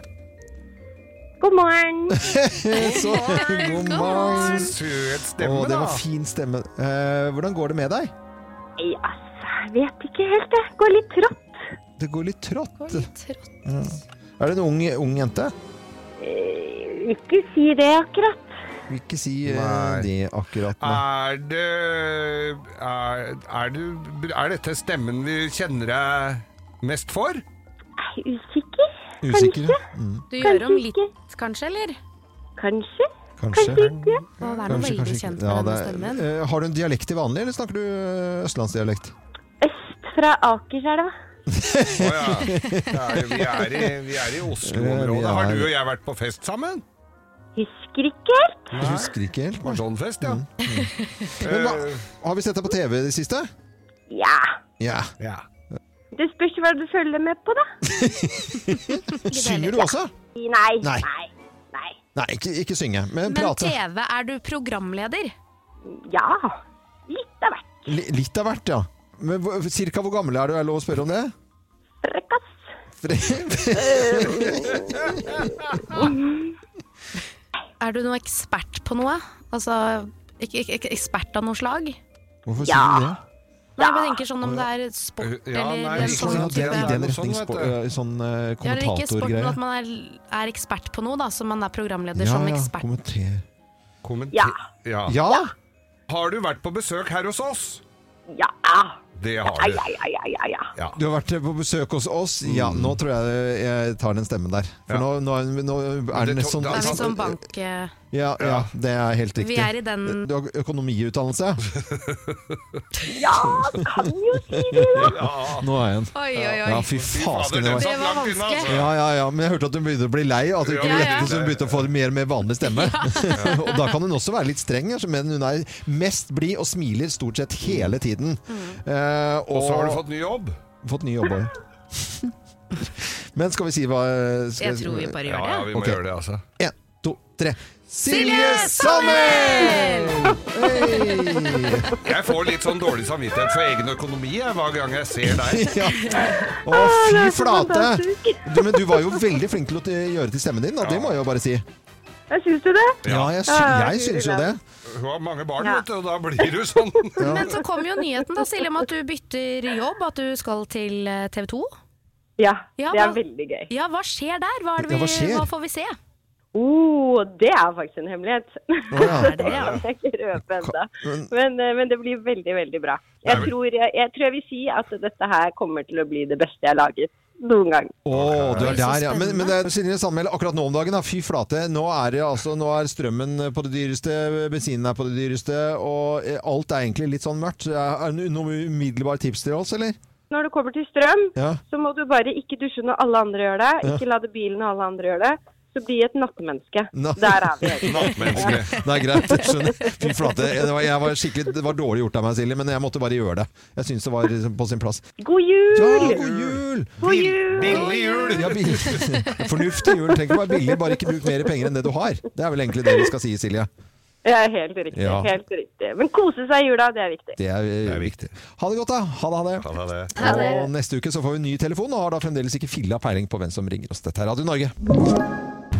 Speaker 11: God morgen.
Speaker 1: Så, god morgen. Å,
Speaker 3: Søt stemme,
Speaker 1: det
Speaker 3: da.
Speaker 1: var fin stemme. Eh, hvordan går det med deg?
Speaker 11: Ja, altså, jeg vet ikke helt, jeg. Går litt trått.
Speaker 1: Det går litt trått.
Speaker 2: Trått.
Speaker 1: Er det en ung, ung jente?
Speaker 11: Eh, Ikke si det akkurat.
Speaker 1: Vil ikke si eh,
Speaker 3: Nei. Ah.
Speaker 1: det akkurat nå.
Speaker 3: Er det er, er, du, er dette stemmen vi kjenner deg mest for?
Speaker 11: Jeg er usikker.
Speaker 1: Usikker?
Speaker 2: Du gjør om
Speaker 11: Kanskje
Speaker 2: litt,
Speaker 11: ikke.
Speaker 2: kanskje, eller?
Speaker 11: Kanskje.
Speaker 1: Kanskje.
Speaker 11: Kanskje ikke.
Speaker 2: Å være noe veldig
Speaker 1: kanskje
Speaker 2: kjent
Speaker 1: ikke. Ja,
Speaker 2: med denne
Speaker 1: det er-
Speaker 2: stemmen.
Speaker 1: eh, har du en dialekt til vanlig, eller snakker du eh, østlandsdialekt?
Speaker 11: Øst fra Akerselva.
Speaker 3: Å ja. Det er, jo- vi er i, vi er i
Speaker 1: Ja, vi
Speaker 3: Oslo-området.
Speaker 1: er-
Speaker 3: Har du og jeg vært på fest sammen?
Speaker 11: Husker ikke helt.
Speaker 1: Jeg husker ikke helt.
Speaker 3: På
Speaker 1: nei.
Speaker 3: sånn fest, ja.
Speaker 1: Mm. Men hva, har vi sett deg på TV i det siste?
Speaker 11: Ja.
Speaker 1: Ja.
Speaker 3: ja.
Speaker 11: Det spørs hva du følger med på, da.
Speaker 1: Synger du også?
Speaker 11: Nei.
Speaker 1: Nei.
Speaker 11: Nei. Nei.
Speaker 1: Nei, ikke, ikke synge, men,
Speaker 2: Men
Speaker 1: prate.
Speaker 2: TV, er du programleder?
Speaker 11: Ja. Litt av hvert.
Speaker 1: Li- Litt av hvert, ja. Men hvor- cirka hvor gammel er du? Er det lov å spørre om det?
Speaker 11: Frekkas.
Speaker 1: Fre-
Speaker 2: Er du noen ekspert på noe? Altså, ikke, ikke, ikke ekspert av noe slag? Nei,
Speaker 1: Hvorfor sier
Speaker 11: Ja.
Speaker 1: du det?
Speaker 2: jeg bare tenker sånn om det er sport
Speaker 3: Ja,
Speaker 2: eller
Speaker 3: nei,
Speaker 2: en
Speaker 3: vi
Speaker 1: Sånn,
Speaker 2: sånn
Speaker 1: at det er I
Speaker 2: type
Speaker 3: det er
Speaker 1: den
Speaker 3: noe
Speaker 1: retning
Speaker 3: sånn, vet
Speaker 1: spo-
Speaker 3: du.
Speaker 1: eh, sånn eh,
Speaker 2: ja, eller ikke sport, men at
Speaker 1: kommentatorgreie.
Speaker 2: man er, er ekspert på noe, da, så man er programleder
Speaker 1: Ja,
Speaker 2: som
Speaker 1: ja,
Speaker 2: ekspert.
Speaker 1: kommenter.
Speaker 3: Kommenter-
Speaker 11: Ja.
Speaker 3: ja.
Speaker 1: Ja!
Speaker 3: Har du vært på besøk her hos oss?
Speaker 11: Ja.
Speaker 3: Det har
Speaker 11: Ja,
Speaker 3: du.
Speaker 11: ja, ja, ja, ja, ja.
Speaker 3: Ja.
Speaker 1: Du har vært eh, på besøk hos oss. Ja, nå tror jeg jeg tar den stemmen der. For
Speaker 3: Ja.
Speaker 1: nå, nå, er- nå er
Speaker 3: Det
Speaker 1: det nesten
Speaker 3: tok-
Speaker 2: Det er litt
Speaker 1: sånn
Speaker 2: sånn bank... eh,
Speaker 1: ja, ja, det er helt riktig.
Speaker 2: Vi er i den-
Speaker 1: Du har økonomiutdannelse?
Speaker 11: Ja, kan jo si det, da.
Speaker 1: Nå er jeg en.
Speaker 2: Oi, oi, oi.
Speaker 1: Ja, fy
Speaker 3: Fader,
Speaker 1: fasken.
Speaker 3: den
Speaker 1: Det var
Speaker 3: satt
Speaker 2: var
Speaker 3: langt unna,
Speaker 2: vanskelig.
Speaker 3: altså.
Speaker 1: Ja, ja, ja, men jeg hørte at hun begynte å bli lei. At hun
Speaker 3: Ja,
Speaker 1: kunne
Speaker 2: ja,
Speaker 1: gjette,
Speaker 2: ja.
Speaker 1: så hun begynte å få mer og mer vanlig stemme. og da kan hun også være litt streng, altså, men hun er mest blid og smiler stort sett hele tiden. Eh, og,
Speaker 3: Og så har du fått ny jobb?
Speaker 1: fått ny jobb òg. men skal vi si hva skal,
Speaker 2: Jeg tror vi bare
Speaker 3: Ja,
Speaker 2: gjør
Speaker 3: ja,
Speaker 2: det.
Speaker 3: vi må
Speaker 1: Ok.
Speaker 3: gjøre det, altså.
Speaker 1: En, to, tre. Silje Sommer! Hey!
Speaker 3: Jeg får litt sånn dårlig samvittighet for egen økonomi jeg, hver gang jeg ser deg.
Speaker 1: Ja. Å, fy
Speaker 11: er så
Speaker 1: flate!
Speaker 11: fantastisk.
Speaker 1: Du, men du var jo veldig flink til å t- gjøre til stemmen din, da. det må jeg jo bare si.
Speaker 11: Jeg syns du det?
Speaker 1: Ja, jeg, sy jeg syns jo det.
Speaker 3: Hun har mange barn,
Speaker 11: Ja.
Speaker 3: vet du, og da blir du sånn.
Speaker 2: Men så kom jo nyheten da, Silje, om at du bytter jobb, at du skal til eh, TV 2.
Speaker 11: Ja.
Speaker 2: Ja,
Speaker 11: Det er
Speaker 2: hva-
Speaker 11: veldig gøy.
Speaker 2: Ja, hva skjer der? Hva, er det
Speaker 1: Ja, hva
Speaker 2: vi,
Speaker 1: skjer?
Speaker 2: hva får vi se?
Speaker 11: Oh, det er faktisk en hemmelighet.
Speaker 1: Å, ja.
Speaker 2: Er det det?
Speaker 11: Jeg kan ikke røpe ennå. Men, eh, men det blir veldig, veldig bra. Jeg
Speaker 3: Nei,
Speaker 11: tror jeg, jeg tror jeg vil si at dette her kommer til å bli det beste jeg har laget noen gang.
Speaker 1: Å, du er
Speaker 2: Oi, så
Speaker 1: der, ja. Men,
Speaker 2: spennende.
Speaker 1: men det er Silje Sandmæl akkurat nå om dagen. Da. Fy flate. Nå er, det, altså, nå er strømmen på det dyreste, bensinen er på det dyreste, og eh, alt er egentlig litt sånn mørkt. Er det noen umiddelbare tips til oss, eller?
Speaker 11: Når det kommer til strøm,
Speaker 1: Ja.
Speaker 11: så må du bare ikke dusje når alle andre gjør det.
Speaker 1: Ja.
Speaker 11: Ikke lade bilen når alle andre gjør det. Så bli et nattemenneske.
Speaker 1: Nei.
Speaker 11: Der er vi. egentlig.
Speaker 3: Nattmenneske.
Speaker 1: Det er greit, jeg skjønner. Fy flate. Jeg var, jeg var skikkelig, det var dårlig gjort av meg, Silje, men jeg måtte bare gjøre det. Jeg syns det var liksom, på sin plass.
Speaker 11: God
Speaker 1: Ja,
Speaker 11: jul!
Speaker 1: god jul!
Speaker 11: God jul!
Speaker 3: Billig jul!
Speaker 1: Ja, bil- Fornuftig jul. Tenk å være billig, bare ikke bruk mer penger enn det du har. Det er vel egentlig det vi skal si, Silje.
Speaker 11: Ja, helt riktig.
Speaker 1: Ja.
Speaker 11: Helt riktig. Men kose seg i jula, det er viktig.
Speaker 1: Det er, eh,
Speaker 3: er
Speaker 1: viktig. Ha det godt, da. Ha det, ha det.
Speaker 3: Ja, det er det.
Speaker 1: Og neste uke så får vi ny telefon, og har da fremdeles ikke filla peiling på hvem som ringer oss. Dette er Radio Norge.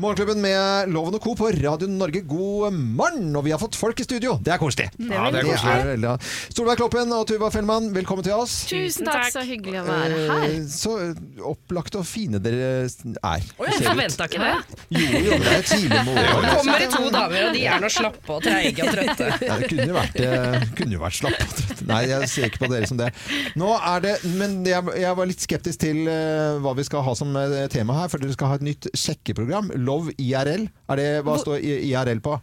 Speaker 1: Morgenklubben med Loven og Co. på Radio Norge, god morgen! Og vi har fått folk i studio. Det er koselig.
Speaker 3: Ja, det er
Speaker 1: Det
Speaker 3: koselig.
Speaker 1: er veldig... Solveig Kloppen og Tuva Fellmann, velkommen til oss.
Speaker 2: Tusen takk, så hyggelig å være her.
Speaker 1: Eh, Så opplagte og fine dere er.
Speaker 4: Jeg forventa ikke det.
Speaker 1: Jo, jo, det er tidlig morgen.
Speaker 4: Kommer det to damer, og de er nå slappe og treige og trøtte.
Speaker 1: Nei, det kunne jo vært, eh, kunne jo vært slapp. og trøtt. Nei, jeg ser ikke på dere som det. Nå er det, men jeg, jeg var litt skeptisk til eh, hva vi skal ha som eh, tema her, for dere skal ha et nytt sjekkeprogram. Love IRL. Er det, hva står I- IRL på?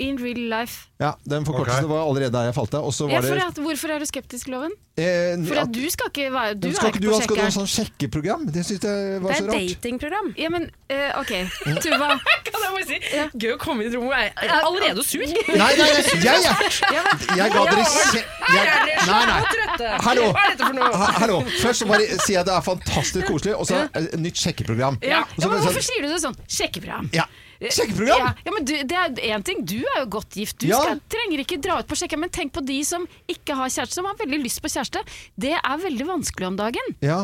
Speaker 4: In real life.
Speaker 1: Ja, Den forkortelsen
Speaker 3: Ok.
Speaker 1: var allerede der jeg falt av. Og så
Speaker 4: Ja,
Speaker 1: var
Speaker 4: for
Speaker 1: det
Speaker 4: at, hvorfor er du skeptisk, Loven?
Speaker 1: eh,
Speaker 4: For
Speaker 1: at-
Speaker 4: at du skal ikke være Du
Speaker 1: Skal
Speaker 4: er
Speaker 1: ikke
Speaker 4: ikke
Speaker 1: du
Speaker 4: på
Speaker 1: ha skal du ha
Speaker 4: sjekkeren.
Speaker 1: sånn sjekkeprogram? Det syns jeg var
Speaker 2: Det
Speaker 1: så
Speaker 2: er
Speaker 1: rart.
Speaker 2: datingprogram.
Speaker 4: Ja, men eh, OK. Tuva. Kan jeg bare si? Gøy å komme inn i rommet, jeg er allerede sur.
Speaker 1: Nei, nei, jeg, jeg, jeg, jeg ga dere kje... Jeg, nei, nei. Hallo.
Speaker 4: Hva er dette for noe?
Speaker 1: Ha- Hallo. Først så bare sier jeg at det er fantastisk koselig, og så eh, nytt sjekkeprogram.
Speaker 4: Ja.
Speaker 1: Og
Speaker 4: Ja,
Speaker 1: så
Speaker 4: men
Speaker 1: bare sånn-
Speaker 4: hvorfor sier du det sånn? Sjekkeprogram.
Speaker 1: Ja. Sjekkeprogram?
Speaker 12: Ja, ja, men du, det er en ting, du er jo godt gift. Du
Speaker 1: Ja.
Speaker 12: skal, trenger ikke dra ut på sjekka, men tenk på de som ikke har kjæreste, som har veldig lyst på kjæreste. Det er veldig vanskelig om dagen.
Speaker 1: Ja.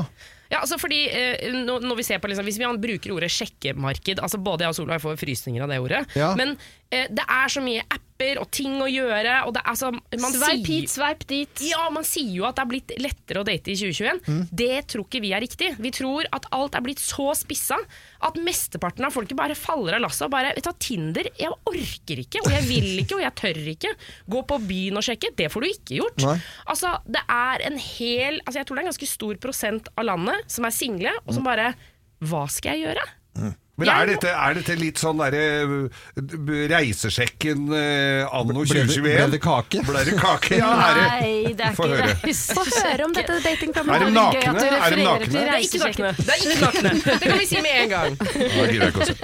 Speaker 11: Ja, altså fordi eh, nå- når vi ser på liksom, Hvis vi an- bruker ordet sjekkemarked altså Både jeg og Solveig får frysninger av det ordet.
Speaker 12: Ja.
Speaker 11: Men eh, det er så mye apper og ting å gjøre. Og det er så, man
Speaker 12: Sveip hit,
Speaker 11: sveip dit. Ja, Man sier jo at det er blitt lettere å date i 2021.
Speaker 12: Mm.
Speaker 11: Det tror ikke vi er riktig. Vi tror at alt er blitt så spissa at mesteparten av folket bare faller av lasset og bare Vet du hva, Tinder, jeg orker ikke, og jeg vil ikke, og jeg tør ikke. Gå på byen og sjekke. Det får du ikke gjort.
Speaker 1: Nei.
Speaker 11: Altså, det er en hel altså, Jeg tror det er en ganske stor prosent av landet som er single, og som bare Hva skal jeg gjøre?
Speaker 3: Mm. Men er dette, er dette litt sånn derre eh, reisesjekken eh, anno
Speaker 1: Ble det-
Speaker 3: 2021?
Speaker 1: ble det kake?
Speaker 3: Ble det kake, ja. Er det,
Speaker 12: Nei, det er
Speaker 3: Få
Speaker 12: ikke
Speaker 3: høre.
Speaker 12: det.
Speaker 2: Få høre om dette
Speaker 3: Er
Speaker 2: datingprogrammet.
Speaker 3: de
Speaker 2: Det
Speaker 3: nakne?
Speaker 2: gøy at
Speaker 3: Er de
Speaker 2: du refererer
Speaker 3: nakne?
Speaker 2: til
Speaker 11: Det er ikke nakne.
Speaker 2: reisesjekken.
Speaker 11: Det er ikke nakne. Det kan vi si med en gang.
Speaker 3: Nå gidder jeg ikke å se.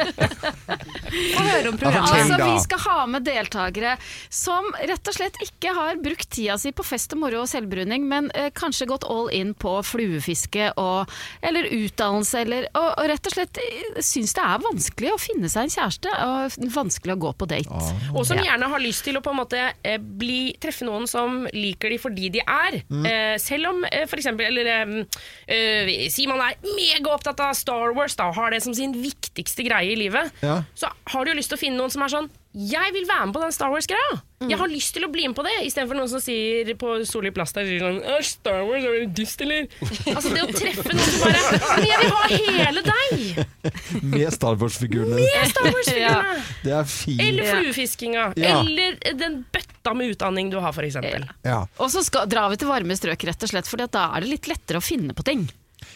Speaker 12: Få høre om
Speaker 3: programmet. Ja,
Speaker 12: Altså,
Speaker 3: fortell da.
Speaker 12: vi skal ha med deltakere som rett og slett ikke har brukt tida si på fest og moro og selvbruning, men eh, kanskje gått all in på fluefiske og, eller utdannelse, eller, og, og rett og slett eh, syns det er vanskelig å finne seg en kjæreste og vanskelig å gå på date.
Speaker 11: Og som
Speaker 12: Ja.
Speaker 11: gjerne har lyst til å på en måte eh, bli, treffe noen som liker de fordi de er.
Speaker 12: Mm.
Speaker 11: Eh, selv om eh, for eksempel, eller eh, eh, Si man er megaopptatt av Star Wars da, og har det som sin viktigste greie i livet.
Speaker 1: Ja.
Speaker 11: Så har du jo lyst til å finne noen som er sånn Jeg vil være med på den Star Wars-greia!
Speaker 12: Mm.
Speaker 11: Jeg har lyst til å bli med på det! Istedenfor noen som sier på Solli Plast der sier sånn «Åh, Star Wars, er du dust, eller? altså det å treffe noen som bare Men jeg vil ha hele deg!
Speaker 1: Med Star Wars-figurene.
Speaker 11: Med Star Wars-figurene!
Speaker 1: Det er fint.
Speaker 11: Eller fluefiskinga.
Speaker 1: Ja.
Speaker 11: Eller den bøtta med utdanning du har, f.eks.
Speaker 1: Ja.
Speaker 12: Og så skal, drar vi til varme strøk, rett og slett, for da er det litt lettere å finne på ting.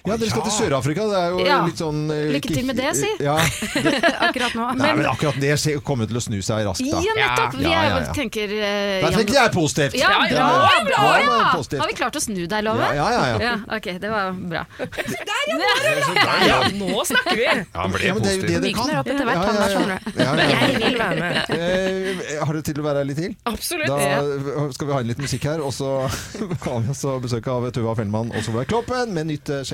Speaker 1: ja, dere skal til Sør-Afrika. Det er jo
Speaker 12: Ja.
Speaker 1: litt sånn eh,
Speaker 12: Lykke til med det, si.
Speaker 1: Ja.
Speaker 12: Akkurat nå.
Speaker 1: Nei, men akkurat det ser- kommer til å snu seg raskt, da.
Speaker 12: Ja, nettopp! Vi
Speaker 1: Ja,
Speaker 12: er,
Speaker 1: ja, ja.
Speaker 12: tenker uh,
Speaker 1: Da tenker jeg positivt.
Speaker 12: Ja, bra,
Speaker 1: Ja, ja,
Speaker 12: bra,
Speaker 1: ja,
Speaker 12: ja.
Speaker 1: ja, positivt.
Speaker 12: Har vi klart å snu deg, Love?
Speaker 1: Ja, ja, ja, ja.
Speaker 12: Ok, det var bra.
Speaker 11: Ja, nå snakker vi!
Speaker 3: Han ble
Speaker 1: Ja, men det er jo det
Speaker 3: positiv.
Speaker 1: det kan.
Speaker 12: Mykner opp etter hvert, han sånn, der, skjønner du.
Speaker 1: Ja, ja, ja.
Speaker 11: Jeg vil være med.
Speaker 1: Eh, har du tid til å være her litt til?
Speaker 11: Absolutt.
Speaker 1: Da skal vi ha inn litt musikk her, og så har vi også besøk av Tuva Fellmann og Solveig Kloppen med nytt eh,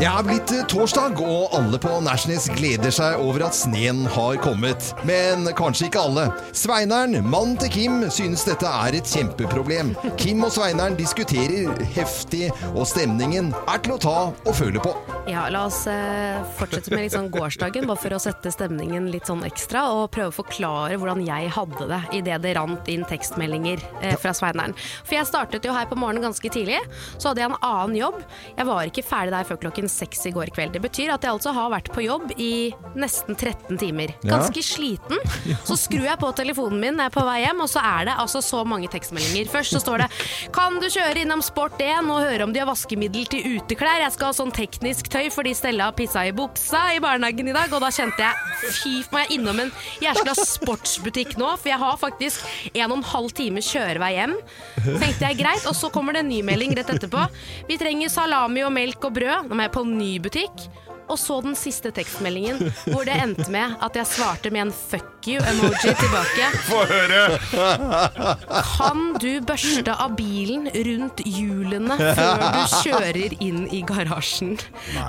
Speaker 1: Det er blitt eh, torsdag, og alle på Nashnes gleder seg over at sneen har kommet. Men kanskje ikke alle. Sveineren, mannen til Kim, synes dette er et kjempeproblem. Kim og Sveineren diskuterer heftig, og stemningen er til å ta og føle på.
Speaker 2: Ja, la oss eh, fortsette med litt sånn gårsdagen, bare for å sette stemningen litt sånn ekstra, og prøve å forklare hvordan jeg hadde det idet det rant inn tekstmeldinger eh, fra Sveineren. For jeg startet jo her på morgenen ganske tidlig, så hadde jeg en annen jobb. Jeg var ikke ferdig der før klokken seks i går kveld. Det betyr at jeg altså har vært på jobb i nesten 13 timer.
Speaker 13: Ja.
Speaker 2: Ganske sliten. Så skrur jeg på telefonen min når jeg er på vei hjem, og så er det altså så mange tekstmeldinger. Først så står det 'Kan du kjøre innom Sport1 og høre om de har vaskemiddel til uteklær?' 'Jeg skal ha sånn teknisk tøy fordi Stella har pissa i buksa i barnehagen i dag.' Og da kjente jeg 'Fy, må jeg innom en jæskla sportsbutikk nå?' For jeg har faktisk en og en halv time kjørevei hjem. Tenkte jeg greit, og så kommer det en ny melding rett etterpå. Vi trenger salami og melk og brød. Nå må jeg på en ny butikk. Og så den siste tekstmeldingen, hvor det endte med at jeg svarte med en fuck you-emoji tilbake.
Speaker 3: Få høre!
Speaker 2: Kan du børste av bilen rundt hjulene før du kjører inn i garasjen?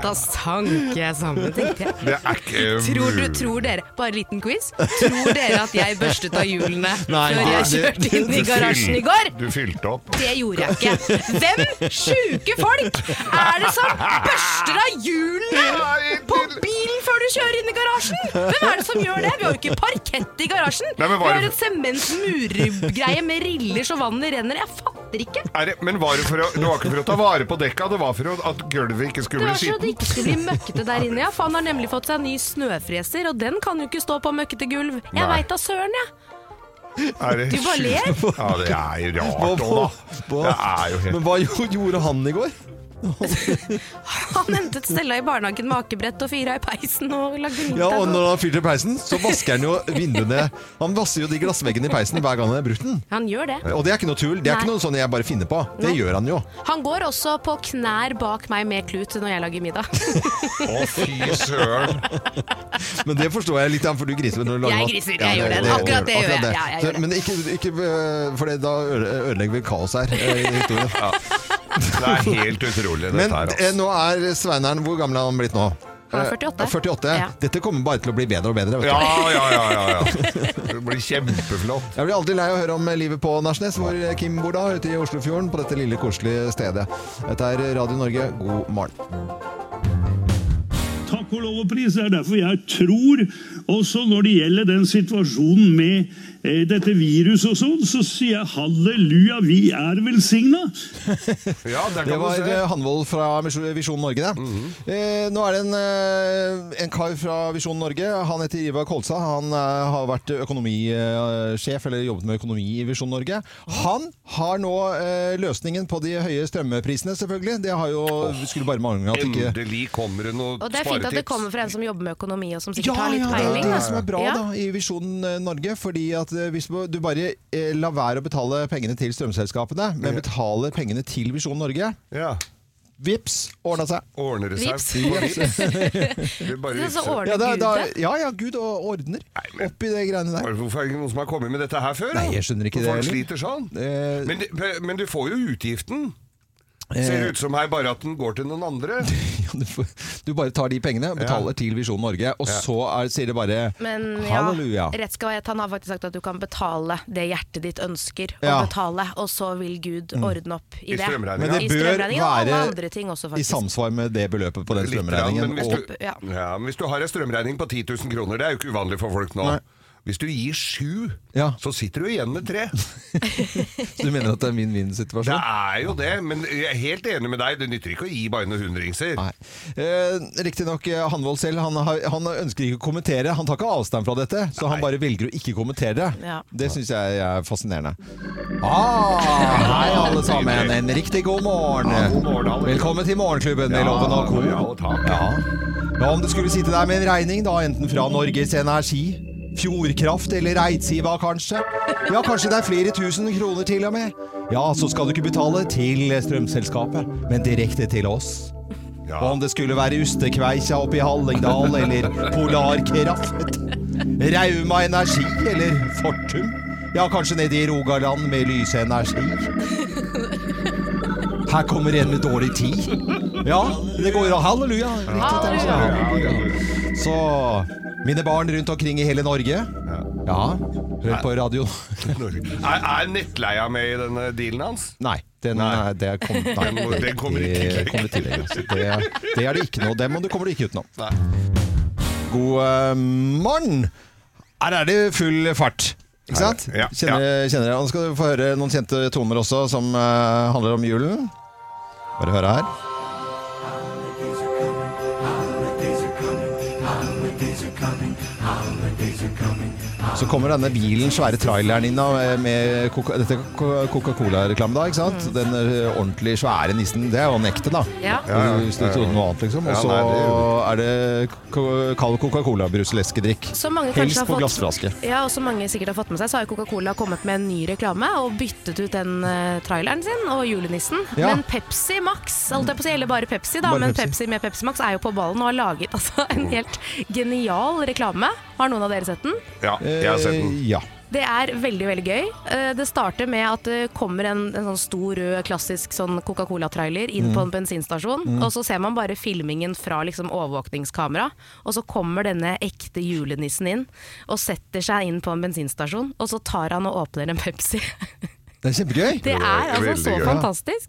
Speaker 2: Da sank jeg sammen, tenkte jeg.
Speaker 3: Det er ikke
Speaker 2: Tror, du,
Speaker 3: mulig.
Speaker 2: tror dere, Bare en liten quiz. Tror dere at jeg børstet av hjulene
Speaker 3: Nei,
Speaker 2: før jeg
Speaker 3: nei, det-
Speaker 2: kjørte inn i
Speaker 3: du
Speaker 2: garasjen i
Speaker 3: fylte-
Speaker 2: går?
Speaker 3: Du fylte opp.
Speaker 2: Det gjorde jeg ikke. Hvem sjuke folk er det som børster av hjulene på bilen før du kjører inn i garasjen? Hvem er det som gjør det? Vi har jo ikke parkett i garasjen.
Speaker 3: Nei, men
Speaker 2: Vi
Speaker 3: var
Speaker 2: har
Speaker 3: det-
Speaker 2: et sementmurgreie med riller så vannet renner. Jeg fatter ikke.
Speaker 3: Er det, men var det, for å, det var ikke for å ta vare på dekka, det var for å, at gulvet ikke
Speaker 2: Det
Speaker 3: skulle
Speaker 2: var
Speaker 3: bli
Speaker 2: så det
Speaker 3: skittent.
Speaker 2: ikke skulle bli møkkete der inne, ja. For han har nemlig fått seg en ny snøfreser, og den kan jo ikke stå på møkkete gulv. Jeg
Speaker 3: Nei.
Speaker 2: veit da søren, jeg.
Speaker 3: Er det
Speaker 2: Du bare
Speaker 3: sjukt?
Speaker 2: ler.
Speaker 3: Ja, det er jo
Speaker 1: Hva-
Speaker 3: rart
Speaker 1: hva-
Speaker 3: òg, da. Det er jo helt
Speaker 1: Men hva gjo- gjorde han i går?
Speaker 2: Han hentet Stella i barnehagen med akebrett og fyra i peisen og lagde
Speaker 1: Ja,
Speaker 2: middag.
Speaker 1: og når han fyrte peisen, så vasker han jo vinduene Han vasker jo de glassveggene i peisen hver gang han har brukt den.
Speaker 2: Han gjør det.
Speaker 1: Og det er ikke noe tull. Det er ikke
Speaker 2: Nei.
Speaker 1: noe sånn jeg bare finner på. Det
Speaker 2: Nei.
Speaker 1: gjør han jo.
Speaker 2: Han går også på knær bak meg med klut når jeg lager middag.
Speaker 1: Å,
Speaker 3: fy søren.
Speaker 1: Men det forstår jeg litt, for du griser når du lager
Speaker 2: Jeg
Speaker 1: mat.
Speaker 2: griser, jeg
Speaker 1: Ja,
Speaker 2: gjør det. Akkurat det gjør jeg. Ja, jeg gjør det.
Speaker 1: Men ikke, ikke øh, For det- da øde- ødelegger vi kaos her. øh, i historien.
Speaker 3: Det er helt utrolig, dette
Speaker 1: Men
Speaker 3: her. altså.
Speaker 1: eh, nå er Sveineren Hvor gammel er han blitt nå?
Speaker 2: Han er
Speaker 1: Eh,
Speaker 2: 48.
Speaker 1: 48.
Speaker 2: Ja.
Speaker 1: Dette kommer bare til å bli bedre og bedre. Vet du.
Speaker 3: Ja, ja, ja, ja, ja. Det blir kjempeflott.
Speaker 1: Jeg blir aldri lei av å høre om livet på Nærsnes, hvor Kim bor da, ute i Oslofjorden, på dette lille koselige stedet. Dette er Radio Norge, god morgen.
Speaker 14: Takk og lov og pris, det er derfor jeg tror også når det gjelder den situasjonen med eh, dette viruset og sånn, så sier jeg halleluja, vi er velsigna.
Speaker 1: Det var eh, Hanvold fra Misjon- Visjon Norge, det. eh, nå er det en, eh, en kar fra Visjon Norge. Han heter Ivar Kolstad. Han eh, har vært økonomisjef, eller jobbet med økonomi i Visjon Norge. Han har nå eh, løsningen på de høye strømprisene, selvfølgelig. Det har jo, skulle bare mangle at ikke
Speaker 3: Endelig kommer det noe
Speaker 2: Og det er fint at det kommer fra en som jobber med økonomi og som sikkert
Speaker 1: Ja,
Speaker 2: har litt
Speaker 1: ja,
Speaker 2: peiling.
Speaker 1: Det er
Speaker 2: da.
Speaker 1: det som er bra
Speaker 2: Ja.
Speaker 1: da, i Visjon eh, Norge. fordi at eh, Hvis du bare eh, lar være å betale pengene til strømselskapene, men betaler pengene til Visjon Norge Vips, ordna seg.
Speaker 3: Ordner det seg.
Speaker 1: Vips.
Speaker 3: Vips. Det er bare
Speaker 1: Ja,
Speaker 3: vips.
Speaker 1: ja, da- da- ja, ja, Gud og ordner oppi det greiene der.
Speaker 3: Hvorfor er det ikke noen som har kommet med dette her før?
Speaker 1: Nei, jeg skjønner ikke det
Speaker 3: Folk
Speaker 1: heller.
Speaker 3: sliter sånn. Men, det- men du får jo utgiften. Ser
Speaker 1: Eh.
Speaker 3: ut som her bare at den går til noen andre.
Speaker 1: Du, får- du bare tar de pengene, betaler til Visjon Norge, og
Speaker 3: Ja.
Speaker 1: så er, sier det bare
Speaker 2: Men ja,
Speaker 1: halleluja.
Speaker 2: rett skal være rett. Han har faktisk sagt at du kan betale det hjertet ditt ønsker å
Speaker 1: Ja.
Speaker 2: betale, og så vil Gud
Speaker 1: Mm.
Speaker 2: ordne opp i,
Speaker 1: I
Speaker 2: det.
Speaker 1: strømregningen. Men det
Speaker 2: I
Speaker 1: bør
Speaker 2: strømregningen og alle
Speaker 1: være
Speaker 2: andre ting også,
Speaker 1: I
Speaker 2: faktisk.
Speaker 1: samsvar med det beløpet på den
Speaker 3: Litt, ja,
Speaker 1: strømregningen.
Speaker 3: men hvis
Speaker 1: og-
Speaker 3: du, ja. men hvis du har en strømregning på 10 000 kroner, det er jo ikke uvanlig for folk nå. Hvis du gir sju, så sitter du igjen med tre.
Speaker 1: Så du mener at det er en
Speaker 3: Det
Speaker 1: vinn-vinn-situasjon?
Speaker 3: er jo det, men jeg er helt enig med deg. Det nytter ikke å gi bare noen hundringser.
Speaker 1: Eh, Riktignok eh, Hanvold selv, han, har, han ønsker ikke å kommentere. Han tar ikke avstand fra dette, så han bare velger å ikke kommentere det.
Speaker 13: Ja.
Speaker 1: Det syns jeg er fascinerende. Ah, hei, alle sammen. En riktig god morgen. Velkommen til Morgenklubben med Loven og Co. Ja. Ja, om du skulle sitte der med en regning, da, enten fra Norges Energi, Fjordkraft eller Reidsiva, kanskje? Ja, kanskje det er flere tusen kroner til og med? Ja, så skal du ikke betale til strømselskapet, men direkte til oss. Og om det skulle være Ustekveikja oppe i Hallingdal, eller Polarkraft, Rauma Energi eller Fortum, ja, kanskje nede i Rogaland med Lysenergi. Her kommer en med dårlig tid. Ja, det går jo halleluja. Riktig, det er sånn. Så mine barn rundt omkring i hele Norge. Ja, hør på radio.
Speaker 3: Er, er nettleia med i denne dealen hans?
Speaker 1: Nei, den, er- det kom,
Speaker 3: Den må-
Speaker 1: nei,
Speaker 3: den kommer i tillegg.
Speaker 1: Det, kommer i tillegg, altså. det, det er det ikke noe. Den må du kommer du ikke utenom.
Speaker 3: Nei.
Speaker 1: God eh, morgen! Her er det full fart. Ikke sant?
Speaker 3: Ja, ja.
Speaker 1: Kjenner, kjenner dere? Nå skal du få høre noen kjente toner også, som eh, handler om julen. Bare høre her.
Speaker 13: Holidays are coming, holidays are coming.
Speaker 1: Så kommer denne bilen, svære traileren inn da, med- med Coca- dette er Coca- Coca-Cola-reklame. da, ikke sant? Den eh, ordentlig svære nissen. Det er jo han ekte, da.
Speaker 13: Ja.
Speaker 1: Hvis du- Hvis du trodde noe annet, liksom. Og
Speaker 3: Ja,
Speaker 1: så
Speaker 3: nei, det er
Speaker 1: er det ko- kald Coca-Cola-bruslæskedrikk.
Speaker 2: Som mange kanskje
Speaker 1: Helst
Speaker 2: har
Speaker 1: på
Speaker 2: fått-
Speaker 1: glassflaske.
Speaker 2: Ja, og som mange sikkert har fått med seg, så har jo Coca-Cola kommet med en ny reklame og byttet ut den eh, traileren sin og julenissen.
Speaker 1: Ja.
Speaker 2: Men Pepsi Max, holdt jeg på å si, eller bare Pepsi, da,
Speaker 13: Bare
Speaker 2: men
Speaker 13: Pepsi.
Speaker 2: Pepsi. med Pepsi Max er jo på ballen og har laget altså, en helt genial reklame. Har noen av dere sett den?
Speaker 3: Ja, jeg har sett den.
Speaker 1: Eh, Ja.
Speaker 2: Det er veldig veldig gøy. Eh, Det starter med at det kommer en, en sånn stor, rød, klassisk sånn Coca-Cola-trailer inn
Speaker 13: Mm.
Speaker 2: på en bensinstasjon.
Speaker 13: Mm.
Speaker 2: Og så ser man bare filmingen fra liksom, overvåkningskamera. Og så kommer denne ekte julenissen inn og setter seg inn på en bensinstasjon. Og så tar han og åpner en Pepsi.
Speaker 1: Det er kjempegøy.
Speaker 2: Det er altså så fantastisk.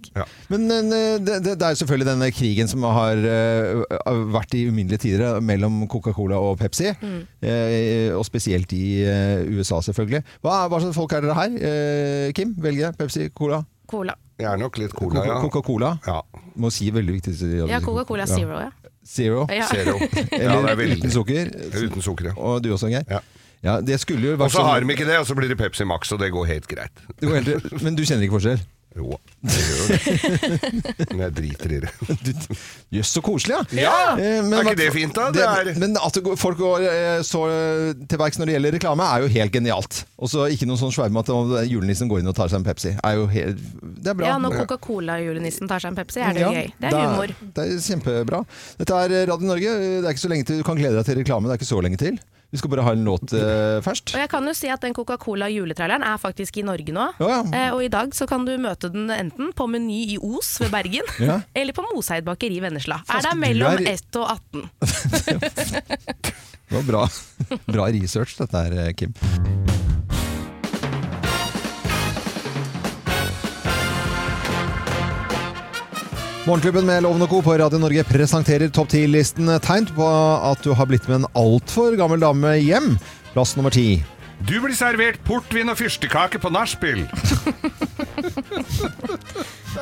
Speaker 1: Men eh, det, det, det er jo selvfølgelig denne krigen som har eh, vært i uminnelige tider eh, mellom Coca-Cola og Pepsi.
Speaker 2: Mm.
Speaker 1: Eh, og spesielt i eh, USA, selvfølgelig. Hva, hva slags folk er dere her? Eh, Kim, velge Pepsi, Cola?
Speaker 2: Cola.
Speaker 3: Jeg er nok litt cola,
Speaker 1: Coca-
Speaker 3: ja.
Speaker 1: Coca-Cola? Må si veldig viktig.
Speaker 2: Ja, Coca-Cola Zero, ja.
Speaker 1: Zero.
Speaker 2: Ja.
Speaker 3: Zero. Ja, det
Speaker 1: Eller
Speaker 3: er veldig-
Speaker 1: uten sukker.
Speaker 3: Uten sukker, ja.
Speaker 1: Og du også, Geir? Ja. det skulle jo
Speaker 3: Og
Speaker 1: vært
Speaker 3: så har
Speaker 1: sånn.
Speaker 3: de ikke det, og så blir det Pepsi Max, og det går helt greit.
Speaker 1: Det går helt- Men du kjenner ikke forskjell?
Speaker 3: Jo, det gjør det. Men jeg driter i det.
Speaker 1: Jøss, så koselig, ja!
Speaker 3: Ja!
Speaker 1: Eh,
Speaker 3: Er ikke
Speaker 1: hva-
Speaker 3: det fint, da? Det er-
Speaker 1: Men at det går- folk går eh, så til verks når det gjelder reklame, er jo helt genialt. Og så ikke noe sånn sverme at om julenissen går inn og tar seg en Pepsi. Er jo helt, det er bra.
Speaker 2: Ja, når Coca-Cola-julenissen tar seg en Pepsi, er det
Speaker 1: Ja,
Speaker 2: gøy. Det er humor.
Speaker 1: Det er kjempebra. Dette er Radio Norge. Det er ikke så lenge til. Du kan glede deg til reklame. Det er ikke så lenge til. Vi skal bare ha en låt eh, først.
Speaker 2: Og jeg kan jo si at den Coca-Cola juletraileren er faktisk i Norge nå.
Speaker 1: Ja, ja.
Speaker 2: Eh, og i dag så kan du møte den enten på Meny i Os ved Bergen,
Speaker 1: Ja.
Speaker 2: eller på Moseid bakeri i Vennesla.
Speaker 1: Faske,
Speaker 2: er det
Speaker 1: du
Speaker 2: mellom
Speaker 1: er-
Speaker 2: 1 og 18?
Speaker 1: Det var bra, bra research, dette her, eh, Kim. Morgenklubben med Loven og Co. på Radio Norge presenterer topp 10-listen tegn på at du har blitt med en altfor gammel dame hjem. Plass nummer ti.
Speaker 3: Du blir servert portvin og fyrstekake på nachspiel.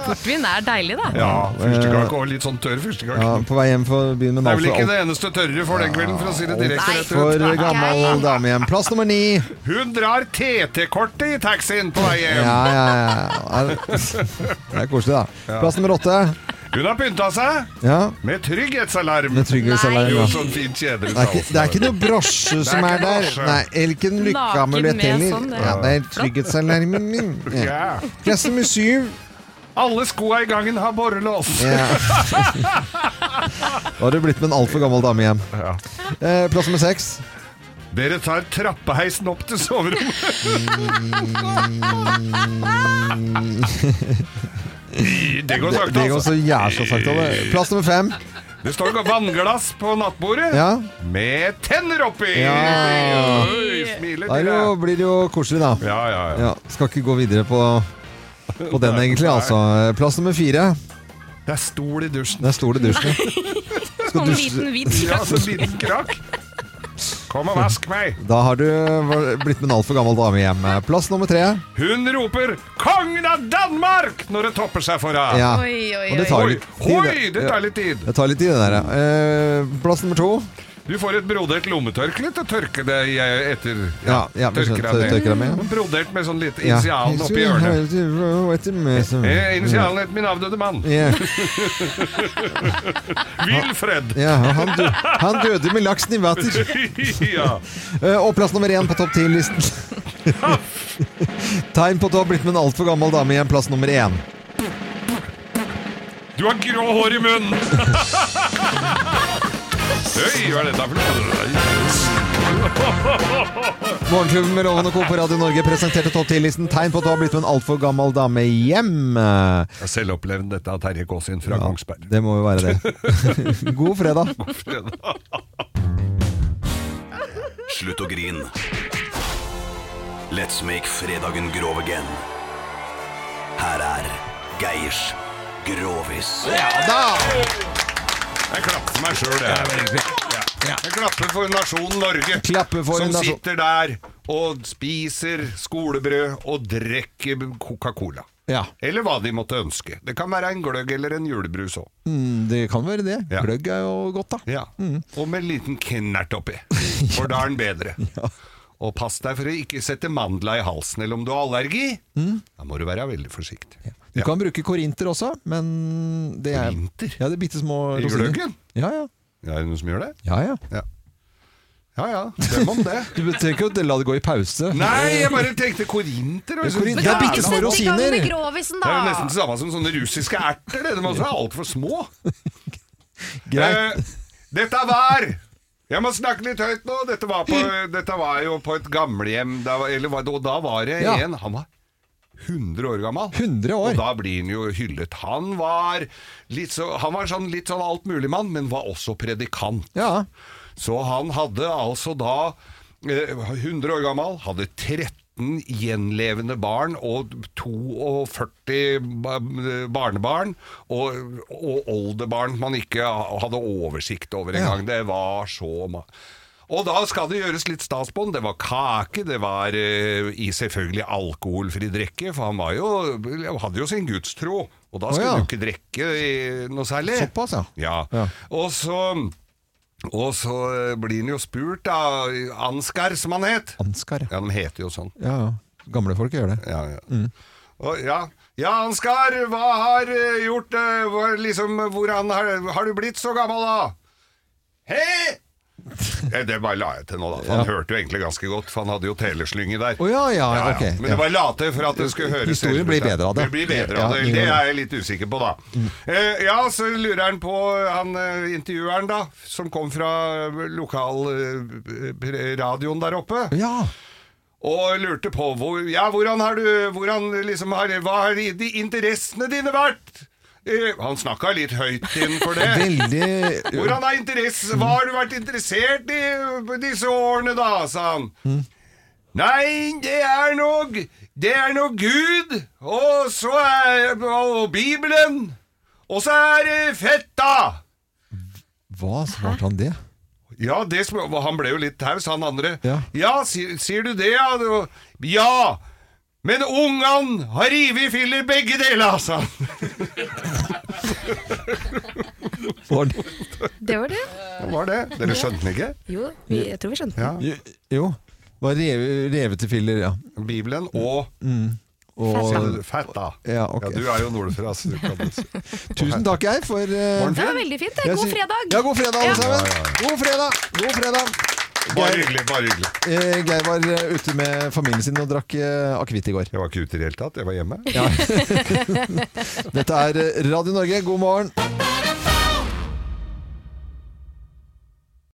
Speaker 2: Portvin er deilig, da.
Speaker 3: Ja, fyrstekake og litt sånn tørr fyrstekake.
Speaker 1: eh, Ja, altså på vei hjem for å begynne med
Speaker 3: Det
Speaker 1: en
Speaker 3: er vel ikke
Speaker 1: altfor
Speaker 3: det eneste tørre for den kvelden, for å si det direkte. rett
Speaker 1: for
Speaker 3: ut.
Speaker 1: gammel dame hjem. Plass nummer ni.
Speaker 3: Hun drar TT-kortet i taxien på vei hjem.
Speaker 1: Ja, ja, ja. Det er koselig, da. Plass nummer åtte.
Speaker 3: Hun har pynta seg
Speaker 1: Ja.
Speaker 3: med trygghetsalarm.
Speaker 1: Med trygghetsalarm, Nei. ja.
Speaker 3: Jo, sånn fint kjedelig
Speaker 1: Det er, ikke, det er ikke noe brosje
Speaker 3: Det er
Speaker 1: som
Speaker 3: ikke
Speaker 1: er der.
Speaker 3: brosje.
Speaker 1: Nei, Elken
Speaker 3: Naken
Speaker 1: lykkeamulett
Speaker 3: med
Speaker 1: heller.
Speaker 3: sånn, det.
Speaker 1: ja, det er trygghetsalarmen min. Ja. Plass nummer syv.
Speaker 3: Alle skoa i gangen har borrelås.
Speaker 1: Ja. Da har du blitt med en altfor gammel dame hjem. Eh, plass nummer seks.
Speaker 3: Dere tar trappeheisen opp til soverommet. Det går sakte,
Speaker 1: Det går så
Speaker 3: altså.
Speaker 1: jævla sakte. det. Plass nummer fem.
Speaker 3: Det står noe vannglass på nattbordet
Speaker 1: Ja.
Speaker 3: med tenner oppi!
Speaker 1: Ja.
Speaker 3: Oi, smiler
Speaker 1: Da er det
Speaker 3: dere.
Speaker 1: jo, blir det jo koselig, da.
Speaker 3: Ja, ja, ja.
Speaker 1: skal ikke gå videre på, på den, egentlig. altså. Plass nummer fire.
Speaker 3: Det er stol i dusjen.
Speaker 1: Det er stol i dusjen. Skal
Speaker 13: Sånn
Speaker 1: dusje-
Speaker 13: liten hvit krakk.
Speaker 3: Ja, sånn liten krakk. Kom og vask meg!
Speaker 1: Da har du blitt med en altfor gammel dame hjem. Plass nummer tre.
Speaker 3: Hun roper 'Kongen av Danmark!' når det topper seg for henne.
Speaker 1: Ja. Oi, oi, Og det oi. tar litt tid,
Speaker 3: Oi,
Speaker 1: det.
Speaker 3: det tar litt tid.
Speaker 1: Det tar litt tid, det der. ja. Eh, plass nummer to.
Speaker 3: Du får et brodert lommetørkle til å tørke det i, eh, etter.
Speaker 1: Ja, ja, vi
Speaker 3: tørker
Speaker 1: skjønner,
Speaker 3: deg
Speaker 1: tørker deg med, ja.
Speaker 3: Brodert med sånn litt
Speaker 1: Ja.
Speaker 3: initialen oppi hjørnet. Eh, initialen etter min avdøde mann.
Speaker 1: Ja.
Speaker 3: Wilfred.
Speaker 1: Ja, han, dø han døde med laksen i vater.
Speaker 3: ja.
Speaker 1: Eh, og plass nummer én på topp ti-listen. Tegn på at du har blitt med en altfor gammel dame hjem. Plass nummer én.
Speaker 3: Du har grå hår i munnen! Oi, hva er dette for noe?
Speaker 1: Morgenklubben med Loven og Co. på Radio Norge presenterte topp ti-listen. Tegn på at du har blitt med en altfor gammel dame hjem. Eh,
Speaker 3: Jeg har selv opplevd dette av Terje Kaasin fra Kongsberg.
Speaker 1: Det må jo være det. God fredag.
Speaker 3: God fredag.
Speaker 15: Slutt å grine. Let's make fredagen grov again. Her er Geirs Grovis.
Speaker 1: Ja da!
Speaker 3: Jeg klapper for meg sjøl, jeg. Ja. Jeg klapper for nasjonen Norge.
Speaker 1: Klapper for
Speaker 3: som
Speaker 1: nasjon-
Speaker 3: sitter der og spiser skolebrød og drikker Coca-Cola. Eller hva de måtte ønske. Det kan være en gløgg eller en julebrus òg.
Speaker 1: Mm, det kan være det. Gløgg er jo godt, da.
Speaker 3: Ja. Mm. Og med en liten knert oppi, for da er den bedre. Og pass deg for å ikke sette mandla i halsen, eller om du har allergi. Da må du være veldig forsiktig.
Speaker 1: Du kan bruke korinter også, men det er Korinter? Ja, det er bitte små
Speaker 3: I
Speaker 1: rosiner.
Speaker 3: gløggen?
Speaker 1: Ja, ja.
Speaker 3: Er det noen som gjør det?
Speaker 1: Ja, ja.
Speaker 3: Ja ja, ja. Dem om det.
Speaker 1: Du trenger ikke å la det gå i pause.
Speaker 3: Nei, jeg bare tenkte korinter. og jeg synes-
Speaker 1: korinter. Det er bitte
Speaker 16: Sett
Speaker 1: små
Speaker 16: i gang med
Speaker 1: rosiner.
Speaker 16: grovisen,
Speaker 3: Det er jo
Speaker 16: da!
Speaker 3: nesten det samme som sånne russiske erter. Det. De også er altså altfor små. Eh, dette var Jeg må snakke litt høyt nå. Dette var, på, dette var jo på et gamlehjem, da, var- eller, hva- og da var det
Speaker 1: Ja.
Speaker 3: en Han var 100 år gammel.
Speaker 1: 100 år.
Speaker 3: Og da blir han jo hyllet. Han var litt, så, han var sånn, litt sånn altmuligmann, men var også predikant. Så han hadde altså da eh, 100 år gammel, hadde 13 gjenlevende barn og 42 ba- barnebarn og, og oldebarn man ikke hadde oversikt over
Speaker 1: Ja.
Speaker 3: engang. Det var så ma og da skal det gjøres litt stas på den. Det var kake, det var eh, i selvfølgelig alkoholfri drikke, for han var jo, hadde jo sin gudstro. Og da
Speaker 1: Å,
Speaker 3: skulle
Speaker 1: ja.
Speaker 3: du ikke drikke eh, noe særlig.
Speaker 1: Såpass, ja.
Speaker 3: Ja.
Speaker 1: Ja.
Speaker 3: Og så og så eh, blir han jo spurt av Ansgar, som han het.
Speaker 1: Ansgar,
Speaker 3: ja. De heter jo sånn.
Speaker 1: Ja, ja. Gamle folk gjør det.
Speaker 3: Ja, ja.
Speaker 1: Mm.
Speaker 3: Og, ja. ja, Ansgar, hva har eh, gjort eh, hva- liksom, Hvordan har, har du blitt så gammel, da? Hei! Det, det bare la jeg til nå, da. For han hørte jo egentlig ganske godt, for han hadde jo teleslynge der.
Speaker 1: Å ja, ja, ok, ja.
Speaker 3: Men det bare la til for at det skulle høres
Speaker 1: Historien
Speaker 3: helt ut,
Speaker 1: blir
Speaker 3: ja.
Speaker 1: bedre av det.
Speaker 3: Det blir
Speaker 1: Ja, Mm.
Speaker 3: bedre av det.
Speaker 1: det gjør
Speaker 3: Det
Speaker 1: det.
Speaker 3: er jeg litt usikker på, da. Eh, ja, så lurer han på han eh, intervjueren, da, som kom fra eh, lokalradioen eh, der oppe.
Speaker 1: Ja.
Speaker 3: Og lurte på hvor, ja, hvordan har du, hvordan liksom har, hva har de interessene dine vært? Eh, han snakka litt høyt innenfor det.
Speaker 1: Veldig-
Speaker 3: Hvordan har interesse, Hva har du vært interessert i disse årene, da? sa han. Nei, det er nok Det er nok Gud, og så er og Bibelen, og så er det fetta!
Speaker 1: Hva svarte han det?
Speaker 3: Ja, det, sm- han ble jo litt taus, han andre. Ja, sier, sier du det, ja? Du- Ja! Men ungan har revet filler begge deler, sa han.
Speaker 1: Var det?
Speaker 16: Det var det.
Speaker 3: Var det? Dere skjønte den ikke?
Speaker 16: Jo, vi, jeg tror vi skjønte det.
Speaker 1: Jo, Jo. Var reve, revetefiller, ja.
Speaker 3: Bibelen og
Speaker 1: Mm. Og,
Speaker 3: Fetta.
Speaker 1: ja, ok.
Speaker 3: Ja, du er jo nordfra, så du kan
Speaker 1: Tusen takk, jeg, for eh,
Speaker 16: Det var veldig fint. det.
Speaker 1: jeg
Speaker 16: God
Speaker 1: sy-
Speaker 16: fredag!
Speaker 1: Ja, god fredag, alle
Speaker 16: Ja.
Speaker 1: sammen. God fredag! God fredag.
Speaker 3: Bare hyggelig, bare hyggelig.
Speaker 1: Eh, Geir var eh, ute med familien sin og drakk eh, akevitt i går.
Speaker 3: Jeg var ikke ute i det hele tatt, jeg var hjemme.
Speaker 1: Dette er eh, Radio Norge, god morgen!